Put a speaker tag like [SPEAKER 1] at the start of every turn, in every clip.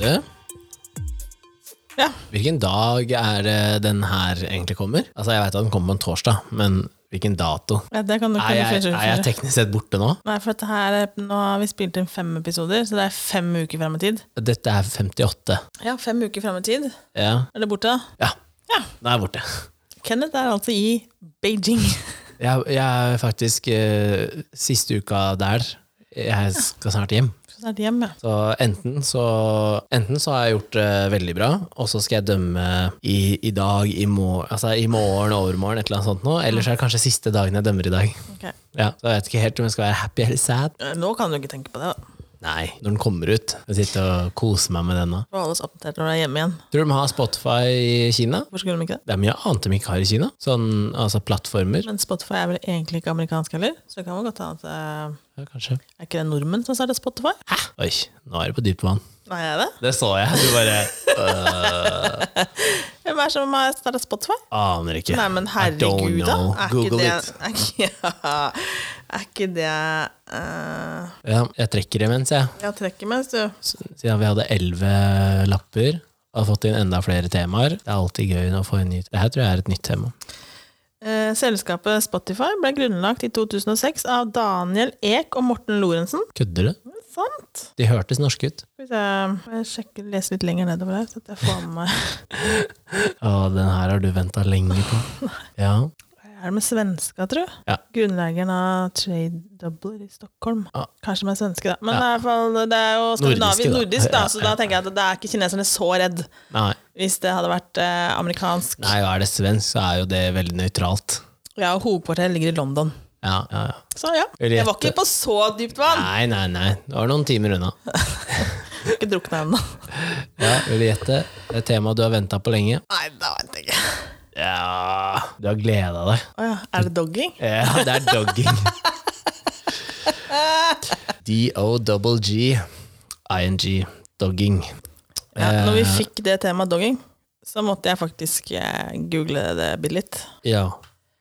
[SPEAKER 1] Du?
[SPEAKER 2] Ja.
[SPEAKER 1] Hvilken dag er det den her egentlig kommer? Altså, jeg veit at den kommer på en torsdag, men hvilken dato?
[SPEAKER 2] Ja, det kan du
[SPEAKER 1] Er
[SPEAKER 2] kunne
[SPEAKER 1] jeg,
[SPEAKER 2] flashe ut
[SPEAKER 1] er jeg
[SPEAKER 2] for.
[SPEAKER 1] teknisk sett borte nå?
[SPEAKER 2] Nei, for dette her, er- nå har vi spilt inn fem episoder, så det er fem uker frem i tid.
[SPEAKER 1] Dette er 58.
[SPEAKER 2] Ja, fem uker frem i tid.
[SPEAKER 1] Ja.
[SPEAKER 2] Er det borte?
[SPEAKER 1] Ja.
[SPEAKER 2] Ja.
[SPEAKER 1] Da er jeg borte.
[SPEAKER 2] Kenneth er altså i Beijing.
[SPEAKER 1] Jeg, jeg er faktisk eh, siste uka der. Jeg skal snart hjem.
[SPEAKER 2] Så snart hjem, ja.
[SPEAKER 1] Så enten så, enten så har jeg gjort det veldig bra, og så skal jeg dømme i, i dag, i, mor altså i morgen, overmorgen, et eller annet sånt nå. Eller så er det kanskje siste dagen jeg dømmer i dag.
[SPEAKER 2] Ok.
[SPEAKER 1] Ja, så jeg vet ikke helt om jeg skal være happy eller sad.
[SPEAKER 2] Eh, Nå kan du ikke tenke på det. da.
[SPEAKER 1] Nei, når den kommer ut. Jeg sitter og koser meg med den nå.
[SPEAKER 2] Du må holde oss oppdatert når du er hjemme igjen.
[SPEAKER 1] Tror du de har Spotify i Kina?
[SPEAKER 2] Hvorfor skulle de ikke det?
[SPEAKER 1] Det er mye annet de ikke har i Kina. Sånn, altså plattformer.
[SPEAKER 2] Men Spotify er vel egentlig ikke amerikansk heller, så det kan vel godt hende at eh,
[SPEAKER 1] Ja, kanskje.
[SPEAKER 2] Er ikke det nordmenn som startet Spotify? Hæ?
[SPEAKER 1] Oi, nå er det på dypt vann.
[SPEAKER 2] Nei, er det?
[SPEAKER 1] Det så jeg. Du bare
[SPEAKER 2] Hvem er det som har startet Spotify?
[SPEAKER 1] aner ikke.
[SPEAKER 2] Nei, men
[SPEAKER 1] I don't
[SPEAKER 2] herregud, da.
[SPEAKER 1] know.
[SPEAKER 2] Er ikke
[SPEAKER 1] Google
[SPEAKER 2] det,
[SPEAKER 1] it.
[SPEAKER 2] er ikke, ja, er ikke det eh,
[SPEAKER 1] Ja, jeg trekker imens, jeg.
[SPEAKER 2] Ja, trekker mens du
[SPEAKER 1] Siden vi hadde elleve lapper, har fått inn enda flere temaer. Det er alltid gøy å få en ny Det her tror jeg er et nytt tema.
[SPEAKER 2] Eh, Selskapet Spotify ble grunnlagt i 2006 av Daniel Ek og Morten Lorentzen.
[SPEAKER 1] Kødder du?
[SPEAKER 2] Det er Sant?
[SPEAKER 1] De hørtes norske ut.
[SPEAKER 2] Skal vi se Jeg sjekker, leser litt lenger nedover her, så at jeg får med meg
[SPEAKER 1] Å, den her har du venta lenge på. Ja.
[SPEAKER 2] Hva Er det med svenska, tro?
[SPEAKER 1] Ja.
[SPEAKER 2] Grunnleggeren av Trade Doubler i Stockholm.
[SPEAKER 1] Ja.
[SPEAKER 2] Kanskje med svenske, da.
[SPEAKER 1] Ja.
[SPEAKER 2] Men i hvert fall, det er jo
[SPEAKER 1] Nordiske,
[SPEAKER 2] skandinavisk
[SPEAKER 1] da.
[SPEAKER 2] nordisk, da,
[SPEAKER 1] Ja,
[SPEAKER 2] så
[SPEAKER 1] ja,
[SPEAKER 2] da
[SPEAKER 1] ja.
[SPEAKER 2] tenker jeg at da er ikke kineserne så redd
[SPEAKER 1] Nei.
[SPEAKER 2] hvis det hadde vært eh, amerikansk.
[SPEAKER 1] Nei, og er det svensk, så er jo det veldig nøytralt.
[SPEAKER 2] Ja, og hovedkvarteret ligger i London.
[SPEAKER 1] Ja, ja, ja.
[SPEAKER 2] Så ja,
[SPEAKER 1] Eller
[SPEAKER 2] jeg var
[SPEAKER 1] gjette.
[SPEAKER 2] ikke på så dypt vann.
[SPEAKER 1] Nei, nei, nei. Det var noen timer unna.
[SPEAKER 2] Ikke drukna ennå.
[SPEAKER 1] Ja, Vil du gjette? Det er et tema du har venta på lenge.
[SPEAKER 2] Nei, da veit jeg ikke.
[SPEAKER 1] Ja Du har gleda deg.
[SPEAKER 2] Å ja, er det dogging?
[SPEAKER 1] Ja, det er dogging. D-O-double-G-I-N-G. Dogging.
[SPEAKER 2] Ja,
[SPEAKER 1] Eh.
[SPEAKER 2] når vi fikk det temaet dogging, så måtte jeg faktisk eh, google det bitte litt.
[SPEAKER 1] Ja.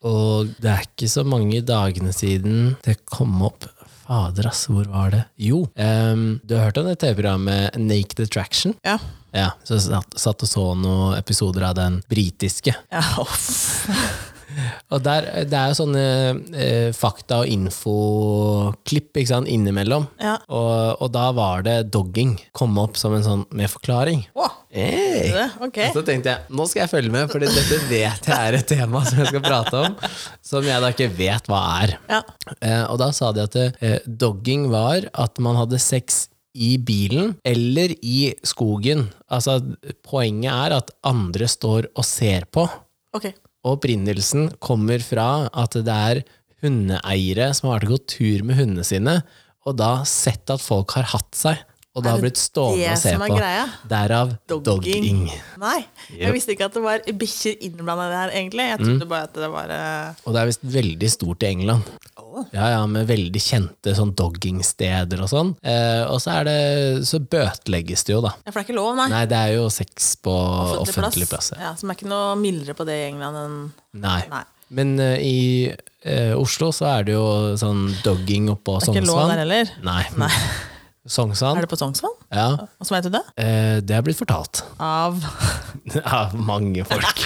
[SPEAKER 1] Og det er ikke så mange dagene siden det kom opp. Fader, ass, hvor var det? Jo, em, du har hørt om det TV-programmet Naked Attraction?
[SPEAKER 2] Ja.
[SPEAKER 1] Ja, så satt, satt og så noen episoder av den britiske.
[SPEAKER 2] ja uff.
[SPEAKER 1] Og der, det er jo sånne eh, fakta- og infoklipp ikke sant, innimellom.
[SPEAKER 2] Ja.
[SPEAKER 1] Og, og da var det dogging. Komme opp som en sånn med forklaring.
[SPEAKER 2] Å,
[SPEAKER 1] Hey.
[SPEAKER 2] det, ok.
[SPEAKER 1] Og Så tenkte jeg nå skal jeg følge med, for dette vet jeg er et tema som jeg skal prate om, som jeg da ikke vet hva er.
[SPEAKER 2] Ja.
[SPEAKER 1] Eh, og da sa de at eh, dogging var at man hadde sex i bilen eller i skogen. Altså, poenget er at andre står og ser på.
[SPEAKER 2] Ok.
[SPEAKER 1] Og opprinnelsen kommer fra at det er hundeeiere som har vært og gått tur med hundene sine, og da sett at folk har hatt seg, og da har blitt stående
[SPEAKER 2] det
[SPEAKER 1] og se
[SPEAKER 2] som er
[SPEAKER 1] på.
[SPEAKER 2] greia?
[SPEAKER 1] Derav dogging.
[SPEAKER 2] Dogging. Nei, jeg visste ikke at det var bikkjer innblanda i det her, egentlig. Jeg
[SPEAKER 1] Mm.
[SPEAKER 2] trodde bare at det var eh,
[SPEAKER 1] Og det er visst veldig stort i England. Ja, ja, Med veldig kjente sånn doggingsteder og sånn. Eh, og så, er det, så bøtelegges det jo, da.
[SPEAKER 2] Ja, for det er ikke lov, nei.
[SPEAKER 1] Nei, det er jo sex på offentlig, plass. ja.
[SPEAKER 2] Ja, Som er ikke noe mildere på det i England enn
[SPEAKER 1] Nei.
[SPEAKER 2] Nei.
[SPEAKER 1] Men eh, i eh, Oslo så er det jo sånn dogging oppå
[SPEAKER 2] Det er ikke lov der
[SPEAKER 1] Sognsvann.
[SPEAKER 2] heller.
[SPEAKER 1] Nei. Sognsvann?
[SPEAKER 2] Er det på Sognsvann?
[SPEAKER 1] Ja.
[SPEAKER 2] Åssen veit du det?
[SPEAKER 1] Eh, det er blitt fortalt
[SPEAKER 2] Av
[SPEAKER 1] av mange folk.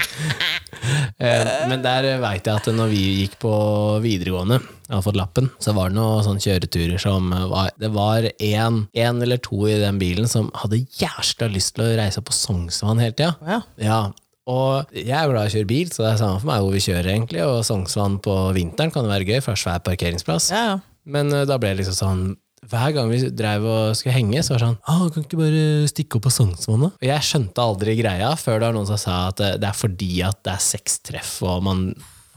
[SPEAKER 1] eh, men der veit jeg at når vi gikk på videregående og hadde fått lappen, så var det noen sånne kjøreturer som var Det var én eller to i den bilen som hadde jævla lyst til å reise opp på Sognsvann hele tida.
[SPEAKER 2] Å ja.
[SPEAKER 1] Ja, og jeg er jo glad i å kjøre bil, så det er samme for meg hvor vi kjører, egentlig. Og Sognsvann på vinteren kan jo være gøy, for det er svær parkeringsplass.
[SPEAKER 2] ja, ja.
[SPEAKER 1] Men eh, da ble det liksom sånn hver gang vi drev og skulle henge, så var det sånn ah, 'Kan ikke bare stikke opp på Sognsvann', da? Og jeg skjønte aldri greia før det var noen som sa at eh, det er fordi at det er seks treff, og man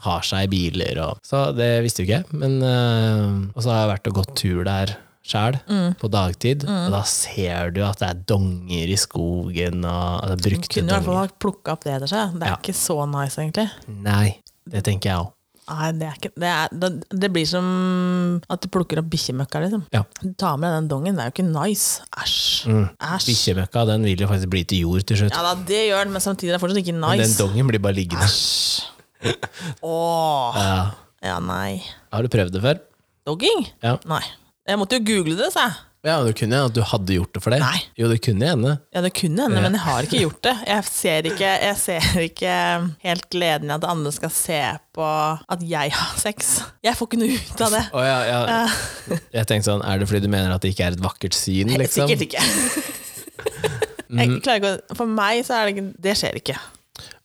[SPEAKER 1] har seg i biler og Så det visste jo ikke jeg. Men eh, Og så har jeg vært og gått tur der sjæl,
[SPEAKER 2] Mm.
[SPEAKER 1] på dagtid, og da ser du at det er donger i skogen, og altså, brukte
[SPEAKER 2] Kunne i hvert fall
[SPEAKER 1] donger.
[SPEAKER 2] ha plukka opp det etter seg. Det
[SPEAKER 1] Ja.
[SPEAKER 2] er ikke så nice, egentlig.
[SPEAKER 1] Nei, det tenker jeg òg.
[SPEAKER 2] Nei, det, er ikke, det, er, det, det blir som at du plukker opp bikkjemøkka, liksom.
[SPEAKER 1] Ja. Mm.
[SPEAKER 2] Du tar med den dongen, det er jo ikke nice. Æsj. Æsj.
[SPEAKER 1] Bikkjemøkka den vil jo faktisk bli til jord til slutt.
[SPEAKER 2] Ja da, det gjør den, men samtidig er det fortsatt ikke
[SPEAKER 1] Men den
[SPEAKER 2] nice.
[SPEAKER 1] dongen blir bare liggende.
[SPEAKER 2] Åh.
[SPEAKER 1] Ja.
[SPEAKER 2] Ja, nei.
[SPEAKER 1] Har du prøvd det før?
[SPEAKER 2] Dogging?
[SPEAKER 1] Ja.
[SPEAKER 2] Nei. Jeg måtte jo google det, sa jeg.
[SPEAKER 1] Ja, men Det kunne hende at du hadde gjort det for det.
[SPEAKER 2] Nei.
[SPEAKER 1] Jo, det kunne hende.
[SPEAKER 2] Ja, det kunne hende, men jeg har ikke gjort det. Jeg ser ikke, jeg ser ikke helt gleden i at andre skal se på at jeg har sex. Jeg får ikke noe ut av det.
[SPEAKER 1] Å, ja, ja.
[SPEAKER 2] Eh,
[SPEAKER 1] Jeg tenkte sånn, Er det fordi du mener at det ikke er et vakkert syn? liksom? Mm.
[SPEAKER 2] Sikkert ikke. Jeg klarer ikke å, for meg så er det ikke Det skjer ikke.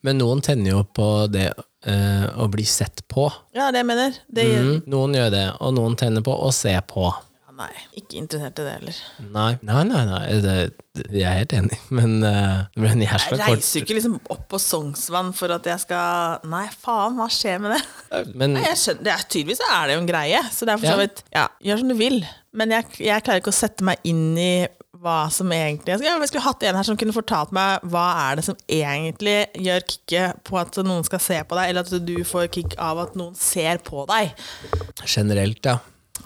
[SPEAKER 1] Men noen tenner jo på det eh, å bli sett på.
[SPEAKER 2] Ja, det jeg mener. Det,
[SPEAKER 1] Mm. Noen gjør det, og noen tenner på å se på.
[SPEAKER 2] ja, nei, ikke interessert i det heller.
[SPEAKER 1] Nei, nei, nei. nei. Det, det, jeg er helt enig, men eh, det ble en jævla
[SPEAKER 2] Jeg
[SPEAKER 1] kort
[SPEAKER 2] reiser jo ikke liksom opp på Sognsvann for at jeg skal Nei, faen, hva skjer med det?
[SPEAKER 1] Men
[SPEAKER 2] Nei, jeg skjønner, det er, tydeligvis så er det jo en greie, så det er for
[SPEAKER 1] Ja.
[SPEAKER 2] så vidt ja, Gjør som du vil. Men jeg, jeg klarer ikke å sette meg inn i hva som egentlig Jeg skulle, jeg skulle hatt en her som kunne fortalt meg hva er det som egentlig gjør kicket på at noen skal se på deg, eller at du får kick av at noen ser på deg,
[SPEAKER 1] generelt, ja.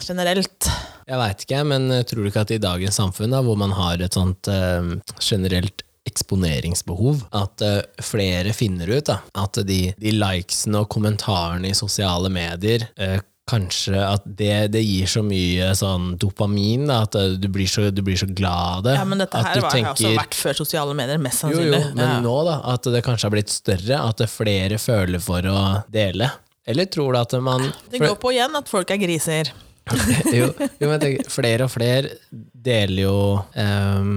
[SPEAKER 2] generelt.
[SPEAKER 1] Jeg veit ikke, men eh, tror du ikke at i dagens samfunn, da, hvor man har et sånt eh, generelt eksponeringsbehov, at eh, flere finner ut da, at de, de likesene og kommentarene i sosiale medier eh, Kanskje at det, det gir så mye sånn dopamin, da, at eh, du blir så, du blir så glad av det.
[SPEAKER 2] Ja, men dette
[SPEAKER 1] at
[SPEAKER 2] her
[SPEAKER 1] du
[SPEAKER 2] var, har også vært før sosiale medier, mest
[SPEAKER 1] jo,
[SPEAKER 2] sannsynlig.
[SPEAKER 1] jo, men
[SPEAKER 2] Ja.
[SPEAKER 1] nå da, at det kanskje har blitt større, at det flere føler for å dele. Eller tror du at man
[SPEAKER 2] Det går på igjen at folk er griser.
[SPEAKER 1] jo, jo, men jeg tenker, flere og flere deler jo ehm,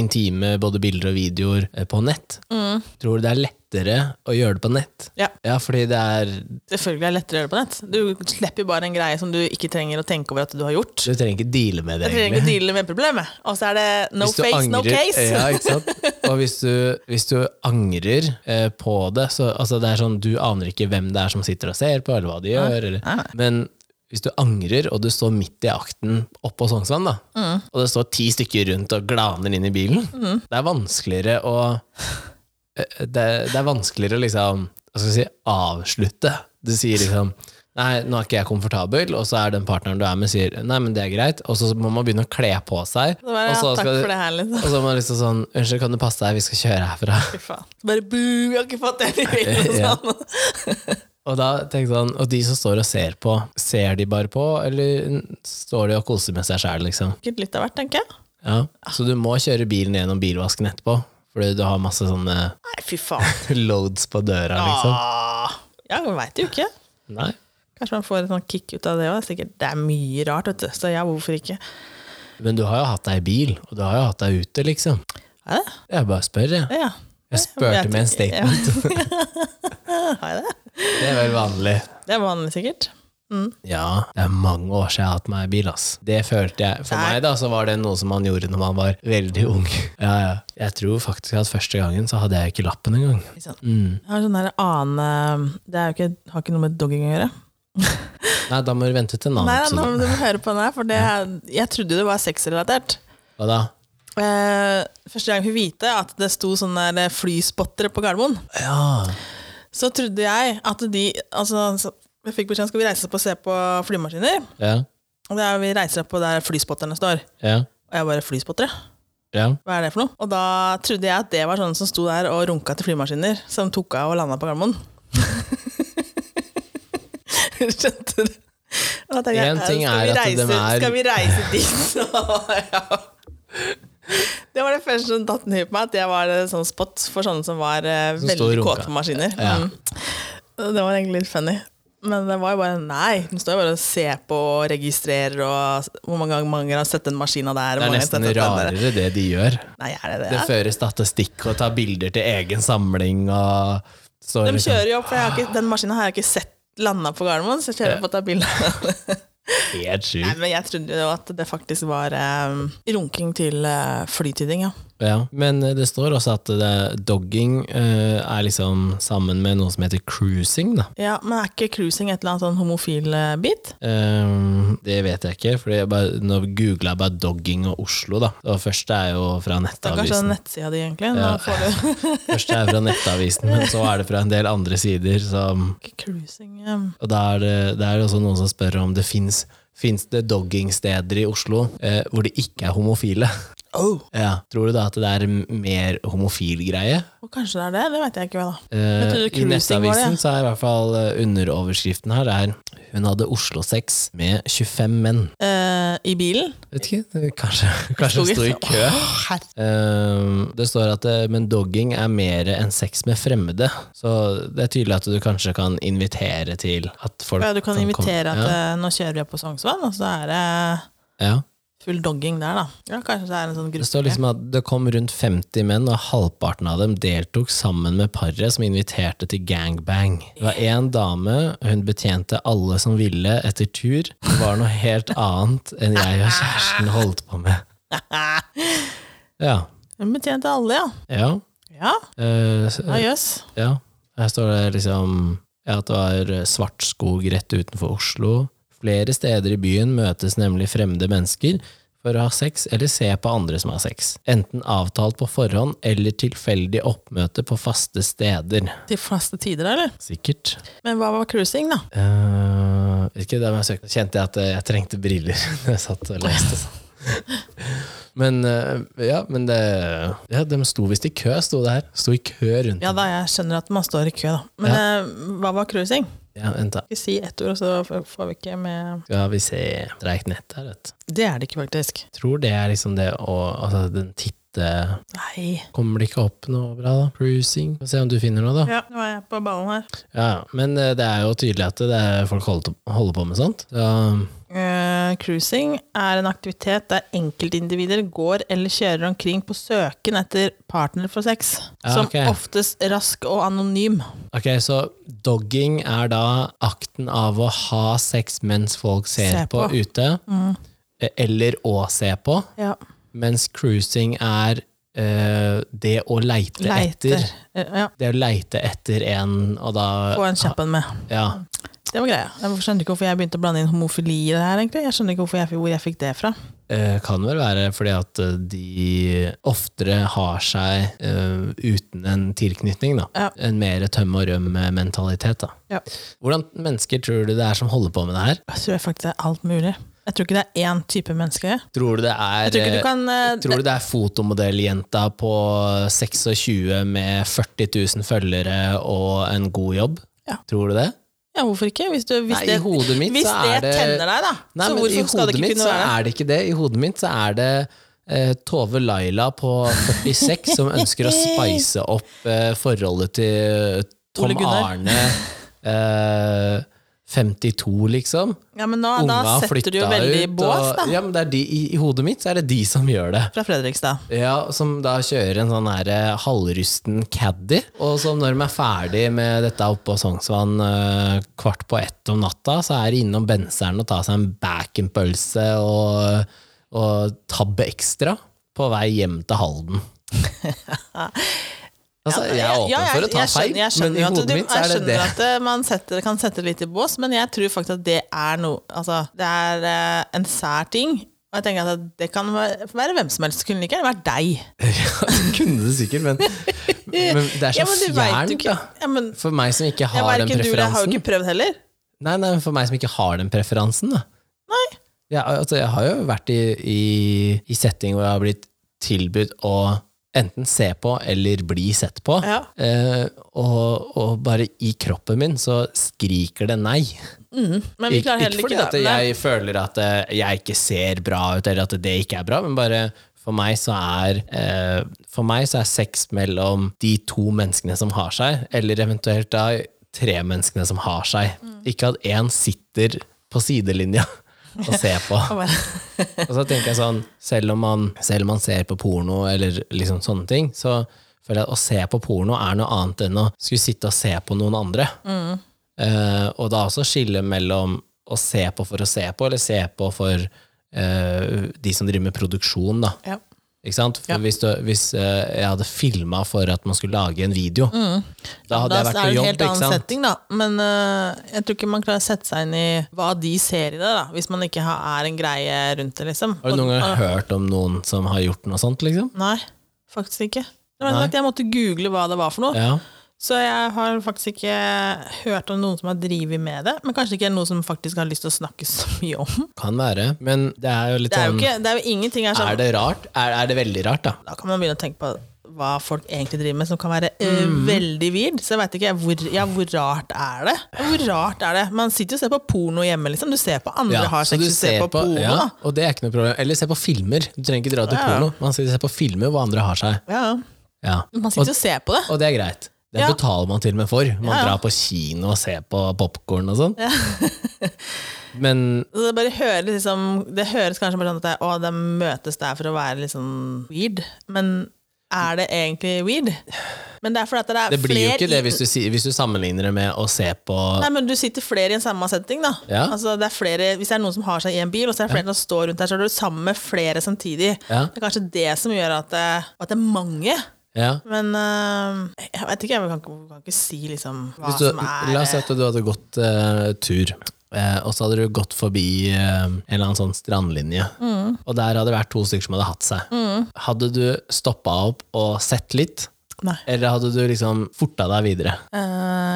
[SPEAKER 1] intime både bilder og videoer eh, på nett. Tror du det er lettere å gjøre det på nett?
[SPEAKER 2] Mm. Ja.
[SPEAKER 1] Ja, fordi det er
[SPEAKER 2] Selvfølgelig er det lettere å gjøre det på nett. Du slipper jo bare en greie som du ikke trenger å tenke over at du har gjort.
[SPEAKER 1] Du trenger ikke deale med
[SPEAKER 2] Du
[SPEAKER 1] det,
[SPEAKER 2] trenger ikke deale med problemet. Og så er det no
[SPEAKER 1] Hvis du
[SPEAKER 2] face, no
[SPEAKER 1] angrer-
[SPEAKER 2] case.
[SPEAKER 1] Ja, ikke sant? Og hvis du, hvis du angrer eh, på det, så altså det er sånn, du aner ikke hvem det er som sitter og ser på, eller hva de gjør.
[SPEAKER 2] nei.
[SPEAKER 1] Eller. Men hvis du angrer, og du står midt i akten oppå Sognsvann, da,
[SPEAKER 2] Mm.
[SPEAKER 1] og det står ti stykker rundt og glaner inn i bilen, det er vanskeligere å eh, det, det er vanskeligere å liksom hva skal jeg si, avslutte. Du sier liksom Nei, nå er ikke jeg komfortabel, og så er den partneren du er med, sier Nei, men det er greit, og så må man begynne å kle på seg.
[SPEAKER 2] Så bare,
[SPEAKER 1] og
[SPEAKER 2] ja,
[SPEAKER 1] så
[SPEAKER 2] takk
[SPEAKER 1] skal du-
[SPEAKER 2] for det her, liksom.
[SPEAKER 1] og så var man liksom sånn Unnskyld, kan du passe deg? Vi skal kjøre herfra.
[SPEAKER 2] Fy faen. Bare bu, jeg har ikke fått det jeg vil.
[SPEAKER 1] Ja.
[SPEAKER 2] og Sånn.
[SPEAKER 1] Og da tenkte han Og de som står og ser på, ser de bare på, eller står de og koser med seg sjæl, liksom?
[SPEAKER 2] Sikkert litt av hvert, tenker jeg.
[SPEAKER 1] Ja. Så du må kjøre bilen gjennom bilvasken etterpå, fordi du har masse sånne
[SPEAKER 2] Nei, fy faen.
[SPEAKER 1] loads på døra, liksom.
[SPEAKER 2] Ah. Ja, jeg veit jo ikke.
[SPEAKER 1] Nei.
[SPEAKER 2] Kanskje man får et sånt kick ut av det òg. Det er mye rart, vet du. Så ja, hvorfor ikke?
[SPEAKER 1] Men du har jo hatt deg i bil, og du har jo hatt deg ute, liksom.
[SPEAKER 2] Er det?
[SPEAKER 1] Jeg bare spør, jeg.
[SPEAKER 2] Ja.
[SPEAKER 1] Jeg spurte med en statement.
[SPEAKER 2] Ja. Har jeg det?
[SPEAKER 1] Det er vel vanlig.
[SPEAKER 2] Det er vanlig, sikkert.
[SPEAKER 1] Ja, det er mange år siden jeg har hatt meg i bil, ass. Det følte jeg. For
[SPEAKER 2] Nei.
[SPEAKER 1] meg da, så var det noe som man gjorde når man var veldig ung. Ja, ja. Jeg tror faktisk at første gangen så hadde jeg ikke lappen engang.
[SPEAKER 2] Ikke sant? Jeg har en sånn der annen Det er jo ikke, har ikke noe med dogging å gjøre.
[SPEAKER 1] Nei, da må du vente til en
[SPEAKER 2] Nei,
[SPEAKER 1] annen
[SPEAKER 2] nei, nå
[SPEAKER 1] episode.
[SPEAKER 2] må du høre på den her, for det er, jeg trodde det var sexrelatert.
[SPEAKER 1] Hva da?
[SPEAKER 2] Eh, første gang jeg fikk vite at det sto sånne der flyspottere på Gardermoen,
[SPEAKER 1] Ja.
[SPEAKER 2] så trodde jeg at de altså, så- Jeg fikk beskjed om skal vi reise oss opp og se på flymaskiner.
[SPEAKER 1] Ja.
[SPEAKER 2] Og det er, vi reiser opp på der flyspoterne står.
[SPEAKER 1] Ja.
[SPEAKER 2] Og jeg bare 'Flyspotterne?
[SPEAKER 1] Ja.
[SPEAKER 2] Hva er det for noe?' Og da trodde jeg at det var sånne som sto der og runka til flymaskiner, som tok av og landa på Gardermoen. Skjønte du? Og da tenkte jeg,
[SPEAKER 1] En ting
[SPEAKER 2] skal vi
[SPEAKER 1] er at
[SPEAKER 2] reise,
[SPEAKER 1] dem er-
[SPEAKER 2] Skal vi reise dit? Så, ja. Det var det første som datt ned på meg, at jeg var eh, sånn spot for sånne som var eh,
[SPEAKER 1] Som sto og
[SPEAKER 2] veldig
[SPEAKER 1] runka.
[SPEAKER 2] kåte på maskiner.
[SPEAKER 1] Ja.
[SPEAKER 2] Mm. Det var egentlig litt funny. Men det var jo bare nei. Hun står jo bare og ser på og registrerer og s- hvor mange ganger mange har sett den maskina der.
[SPEAKER 1] Det er nesten rarere det de gjør.
[SPEAKER 2] Nei, er det det?
[SPEAKER 1] Det
[SPEAKER 2] ja?
[SPEAKER 1] fører statistikk og tar bilder til egen samling og så
[SPEAKER 2] De
[SPEAKER 1] liksom
[SPEAKER 2] kjører jo opp, for jeg har ikke, den maskina har jeg ikke sett landa på Gardermoen, så jeg kjører opp og tar bilde.
[SPEAKER 1] helt
[SPEAKER 2] Nei,
[SPEAKER 1] sjukt.
[SPEAKER 2] men jeg trodde jo at det faktisk var eh, runking til eh, flytiding, ja.
[SPEAKER 1] Ja. Men eh, det står også at det, dogging eh, er liksom sammen med noe som heter cruising, da.
[SPEAKER 2] ja. Men er ikke cruising et eller annet sånn homofil eh, bit?
[SPEAKER 1] Ehm, det vet jeg ikke, for jeg bare, nå googla jeg bare 'dogging' og Oslo. da Og første er jo fra
[SPEAKER 2] Det er kanskje
[SPEAKER 1] Nettavisen.
[SPEAKER 2] nettsida di, egentlig. Nå
[SPEAKER 1] Ja.
[SPEAKER 2] får du
[SPEAKER 1] Første er fra Nettavisen, Men så er det fra en del andre sider. Som,
[SPEAKER 2] ikke cruising eh.
[SPEAKER 1] og da er det, det er jo også noen som spør om det fins Fins det doggingsteder i Oslo eh, hvor de ikke er homofile?
[SPEAKER 2] Oh.
[SPEAKER 1] Ja. Tror du da at det er m- mer homofil greie?
[SPEAKER 2] Og kanskje det er det? Det vet jeg ikke hva da.
[SPEAKER 1] Eh,
[SPEAKER 2] trodde
[SPEAKER 1] I
[SPEAKER 2] cruising var det,
[SPEAKER 1] Nettavisen
[SPEAKER 2] ja.
[SPEAKER 1] så er i hvert fall eh, underoverskriften her er 'Hun hadde Oslo-sex med 25 menn'.
[SPEAKER 2] Eh, I bilen?
[SPEAKER 1] Vet ikke, det- kanskje, kanskje hun sto i kø.
[SPEAKER 2] Åh, herre-
[SPEAKER 1] Eh, det står at eh, 'men dogging er mer enn sex med fremmede'. Så det er tydelig at du kanskje kan invitere til at folk
[SPEAKER 2] Ja, du kan
[SPEAKER 1] komme-
[SPEAKER 2] invitere at
[SPEAKER 1] ja.
[SPEAKER 2] eh, nå kjører vi opp på Sognsvann, og så er det
[SPEAKER 1] ja.
[SPEAKER 2] full dogging der, da. Ja, kanskje det er en sånn
[SPEAKER 1] Det
[SPEAKER 2] gruppe.
[SPEAKER 1] står liksom at det kom rundt 50 menn, og halvparten av dem deltok sammen med paret som inviterte til gangbang. Det var én dame, hun betjente alle som ville etter tur. Det var noe helt annet enn jeg og kjæresten holdt på med. Ja.
[SPEAKER 2] Hun betjente alle, ja.
[SPEAKER 1] Ja.
[SPEAKER 2] Ja,
[SPEAKER 1] Eh, s-
[SPEAKER 2] ja jøss.
[SPEAKER 1] ja. Her står det liksom ja, at det var eh, svart skog rett utenfor Oslo. Flere steder i byen møtes nemlig fremmede mennesker for å ha sex eller se på andre som har sex. Enten avtalt på forhånd eller tilfeldig oppmøte på faste steder.
[SPEAKER 2] Til faste tider, eller?
[SPEAKER 1] Sikkert.
[SPEAKER 2] Men hva var cruising, da?
[SPEAKER 1] Eh, ikke det, men jeg søkte. Kjente jeg at eh, jeg trengte briller når jeg satt og leste. Men eh, ja, men det ja, De sto visst i kø, sto det her. Sto i kø rundt.
[SPEAKER 2] Ja da, jeg skjønner at man står i kø, da. Men eh, hva var cruising?
[SPEAKER 1] Ja, vent da.
[SPEAKER 2] Ikke si ett ord, så f- får vi ikke med
[SPEAKER 1] Skal vi se Dreik nett her, vet du.
[SPEAKER 2] Det er det ikke, faktisk.
[SPEAKER 1] tror det er liksom det å Altså, den titte
[SPEAKER 2] Nei.
[SPEAKER 1] Kommer det ikke opp noe bra, da? Cruising. Få se om du finner noe, da.
[SPEAKER 2] Ja, nå er jeg på ballen her.
[SPEAKER 1] Ja, ja. Men eh, det er jo tydelig at det er folk holder, holder på med sånt. Så,
[SPEAKER 2] Eh, cruising er en aktivitet der enkeltindivider går eller kjører omkring på søken etter partner for sex.
[SPEAKER 1] Ja,
[SPEAKER 2] som
[SPEAKER 1] ok.
[SPEAKER 2] oftest rask og anonym.
[SPEAKER 1] ok, så dogging er da akten av å ha sex mens folk ser
[SPEAKER 2] Se
[SPEAKER 1] på.
[SPEAKER 2] på. Mm.
[SPEAKER 1] ute, eh, eller å se på,
[SPEAKER 2] Ja,
[SPEAKER 1] mens cruising er eh, det å leite,
[SPEAKER 2] Leiter.
[SPEAKER 1] etter.
[SPEAKER 2] Eh, Ja,
[SPEAKER 1] Det å leite etter en, og da
[SPEAKER 2] Få en kjapp en med.
[SPEAKER 1] Ja.
[SPEAKER 2] Det var greia. Jeg skjønner ikke hvorfor jeg begynte å blande inn homofili i det her. egentlig. Jeg skjønner ikke hvorfor jeg, fikk- hvor jeg fikk det fra.
[SPEAKER 1] Eh, kan vel være fordi at eh, de oftere har seg eh, uten en tilknytning, da.
[SPEAKER 2] Ja.
[SPEAKER 1] En mer tømme og rømme-mentalitet, da.
[SPEAKER 2] Ja.
[SPEAKER 1] Hvordan mennesker tror du det er som holder på med det her?
[SPEAKER 2] Jeg tror faktisk det er alt mulig. Jeg tror ikke det er én type menneske.
[SPEAKER 1] Tror du det er,
[SPEAKER 2] Jeg tror ikke du kan eh,
[SPEAKER 1] eh, tror du det er fotomodelljenta på 26 med 40 000 følgere og en god jobb?
[SPEAKER 2] Ja.
[SPEAKER 1] Tror du det?
[SPEAKER 2] Ja, hvorfor ikke? Hvis, du, hvis
[SPEAKER 1] Nei,
[SPEAKER 2] det,
[SPEAKER 1] i hodet mitt
[SPEAKER 2] hvis
[SPEAKER 1] så er
[SPEAKER 2] det
[SPEAKER 1] det-
[SPEAKER 2] tenner deg, da.
[SPEAKER 1] Nei,
[SPEAKER 2] så
[SPEAKER 1] men i
[SPEAKER 2] hvorfor skal det
[SPEAKER 1] hodet
[SPEAKER 2] ikke
[SPEAKER 1] mitt
[SPEAKER 2] kunne
[SPEAKER 1] så
[SPEAKER 2] være det?
[SPEAKER 1] er det ikke det. I hodet mitt så er det eh, Tove Laila på 46 som ønsker å spice opp eh, forholdet til eh, Tom
[SPEAKER 2] Ole Gunnar.
[SPEAKER 1] Arne eh, 52, liksom.
[SPEAKER 2] Ja, men nå, da
[SPEAKER 1] Unga
[SPEAKER 2] setter du jo
[SPEAKER 1] flytta
[SPEAKER 2] veldig i
[SPEAKER 1] ut,
[SPEAKER 2] bås,
[SPEAKER 1] og-
[SPEAKER 2] da.
[SPEAKER 1] Ja, men det er de, i, I hodet mitt så er det de som gjør det.
[SPEAKER 2] Fra Fredrikstad.
[SPEAKER 1] Ja, Som da kjører en sånn her eh, halvrusten caddy, og som når de er ferdig med dette oppe på Sognsvann eh, kvart på ett om natta, så er de innom Benseren og tar seg en baconpølse og, og tabbe ekstra på vei hjem til Halden. altså, jeg er åpen
[SPEAKER 2] Ja, jeg-
[SPEAKER 1] for å ta
[SPEAKER 2] jeg
[SPEAKER 1] feil,
[SPEAKER 2] skjønner- jeg skjønner
[SPEAKER 1] men i
[SPEAKER 2] jo at
[SPEAKER 1] hodet
[SPEAKER 2] du-
[SPEAKER 1] mitt så er det
[SPEAKER 2] Jeg
[SPEAKER 1] det.
[SPEAKER 2] skjønner at eh, man setter, kan sette det litt i bås, men jeg tror faktisk at det er noe Altså, det er eh, en sær ting. Og jeg tenker at det kan være, være hvem som helst. Kunne like gjerne vært deg.
[SPEAKER 1] Kunne det sikkert, men, men det er så
[SPEAKER 2] Ja, men du vet jo
[SPEAKER 1] fjernt,
[SPEAKER 2] ikke.
[SPEAKER 1] da.
[SPEAKER 2] Ja, men,
[SPEAKER 1] For meg som ikke
[SPEAKER 2] ja,
[SPEAKER 1] har den
[SPEAKER 2] verken du eller jeg har jo
[SPEAKER 1] preferansen.
[SPEAKER 2] ikke prøvd heller.
[SPEAKER 1] Nei, nei, for meg som ikke har den preferansen, da.
[SPEAKER 2] Nei.
[SPEAKER 1] Ja, altså, jeg har jo vært i, i, i setting hvor jeg har blitt tilbudt å enten se på eller bli sett på.
[SPEAKER 2] Ja.
[SPEAKER 1] Eh, og, og bare i kroppen min så skriker det nei.
[SPEAKER 2] Men vi
[SPEAKER 1] Ikke,
[SPEAKER 2] klarer heller
[SPEAKER 1] ikke fordi
[SPEAKER 2] ikke
[SPEAKER 1] at
[SPEAKER 2] det. Nei.
[SPEAKER 1] jeg føler at eh, jeg ikke ser bra ut, eller at det ikke er bra, men bare for meg så er eh, For meg så er sex mellom de to menneskene som har seg, eller eventuelt da tre menneskene som har seg.
[SPEAKER 2] Mm.
[SPEAKER 1] Ikke at én sitter på sidelinja og ser på.
[SPEAKER 2] Og bare-
[SPEAKER 1] Og så tenker jeg sånn, selv om man, selv om man ser på porno eller liksom sånne ting, så føler jeg at å se på porno er noe annet enn å skulle sitte og se på noen andre. Eh, og da også skille mellom å se på for å se på, eller se på for eh, de som driver med produksjon, da.
[SPEAKER 2] Ja.
[SPEAKER 1] Ikke sant? For hvis, du, hvis eh, jeg hadde filma for at man skulle lage en video, da hadde
[SPEAKER 2] Mm. Da
[SPEAKER 1] jeg
[SPEAKER 2] er
[SPEAKER 1] vært på
[SPEAKER 2] det en
[SPEAKER 1] jobb,
[SPEAKER 2] helt
[SPEAKER 1] ikke
[SPEAKER 2] annen
[SPEAKER 1] sant?
[SPEAKER 2] setting, da. Men øh, jeg tror ikke man klarer å sette seg inn i hva de ser i det, da, hvis man ikke har, er en greie rundt det, liksom.
[SPEAKER 1] Har du noen gang
[SPEAKER 2] Og-
[SPEAKER 1] hørt om noen som har gjort noe sånt, liksom?
[SPEAKER 2] Nei, faktisk ikke. Det var
[SPEAKER 1] Nei.
[SPEAKER 2] sagt, jeg måtte google hva det var for noe.
[SPEAKER 1] Ja.
[SPEAKER 2] Så jeg har faktisk ikke hørt om noen som har drevet med det. Men kanskje det ikke er noe som faktisk har lyst til å snakke så mye om.
[SPEAKER 1] Kan være. Men det er jo litt
[SPEAKER 2] Det er jo,
[SPEAKER 1] sånn
[SPEAKER 2] ikke, det er jo ingenting her som
[SPEAKER 1] Er det rart? Er, er det veldig rart, da?
[SPEAKER 2] Da kan man begynne å tenke på hva folk egentlig driver med, som kan være eh,
[SPEAKER 1] Mm.
[SPEAKER 2] veldig weird. Så jeg veit ikke hvor, ja, hvor rart er det? Hvor rart er det? Man sitter jo og ser på porno hjemme, liksom. Du ser på andre har
[SPEAKER 1] så
[SPEAKER 2] sex,
[SPEAKER 1] du
[SPEAKER 2] du ser, på, porno.
[SPEAKER 1] ja,
[SPEAKER 2] da.
[SPEAKER 1] og det er ikke noe problem. Eller se på filmer. Du trenger ikke dra til
[SPEAKER 2] Ja.
[SPEAKER 1] porno. Man sitter og ser på filmer hvor andre har seg.
[SPEAKER 2] Ja.
[SPEAKER 1] Ja.
[SPEAKER 2] Man sitter og ser på det.
[SPEAKER 1] Og det er greit. Det
[SPEAKER 2] Ja.
[SPEAKER 1] betaler man til og med for. Man
[SPEAKER 2] Ja, ja.
[SPEAKER 1] drar på kino og ser på popkorn og sånn. Men
[SPEAKER 2] Så Det, bare hører liksom, det høres kanskje bare sånn at det, å, de møtes der for å være litt sånn weird, men er det egentlig weird? Men det er fordi at det er
[SPEAKER 1] det blir jo
[SPEAKER 2] flere
[SPEAKER 1] ikke det
[SPEAKER 2] i-
[SPEAKER 1] hvis du, si- hvis du sammenligner det med å se på
[SPEAKER 2] Nei, men du sitter flere i en samme setting, da.
[SPEAKER 1] Ja.
[SPEAKER 2] Altså, det er flere, hvis det er noen som har seg i en bil, og så er det flere som står rundt der, så er du sammen med flere samtidig.
[SPEAKER 1] Ja.
[SPEAKER 2] Det er kanskje det som gjør at det, at det er mange.
[SPEAKER 1] ja.
[SPEAKER 2] Men øh, jeg vet ikke, jeg kan, ikke- kan ikke si liksom hva
[SPEAKER 1] Hvis du,
[SPEAKER 2] som er
[SPEAKER 1] La oss si at du hadde gått eh, tur, eh, og så hadde du gått forbi eh, en eller annen sånn strandlinje.
[SPEAKER 2] Mm.
[SPEAKER 1] Og der hadde det vært to stykker som hadde hatt seg. Hadde du stoppa opp og sett litt,
[SPEAKER 2] Nei.
[SPEAKER 1] eller hadde du liksom forta deg videre?
[SPEAKER 2] Øh,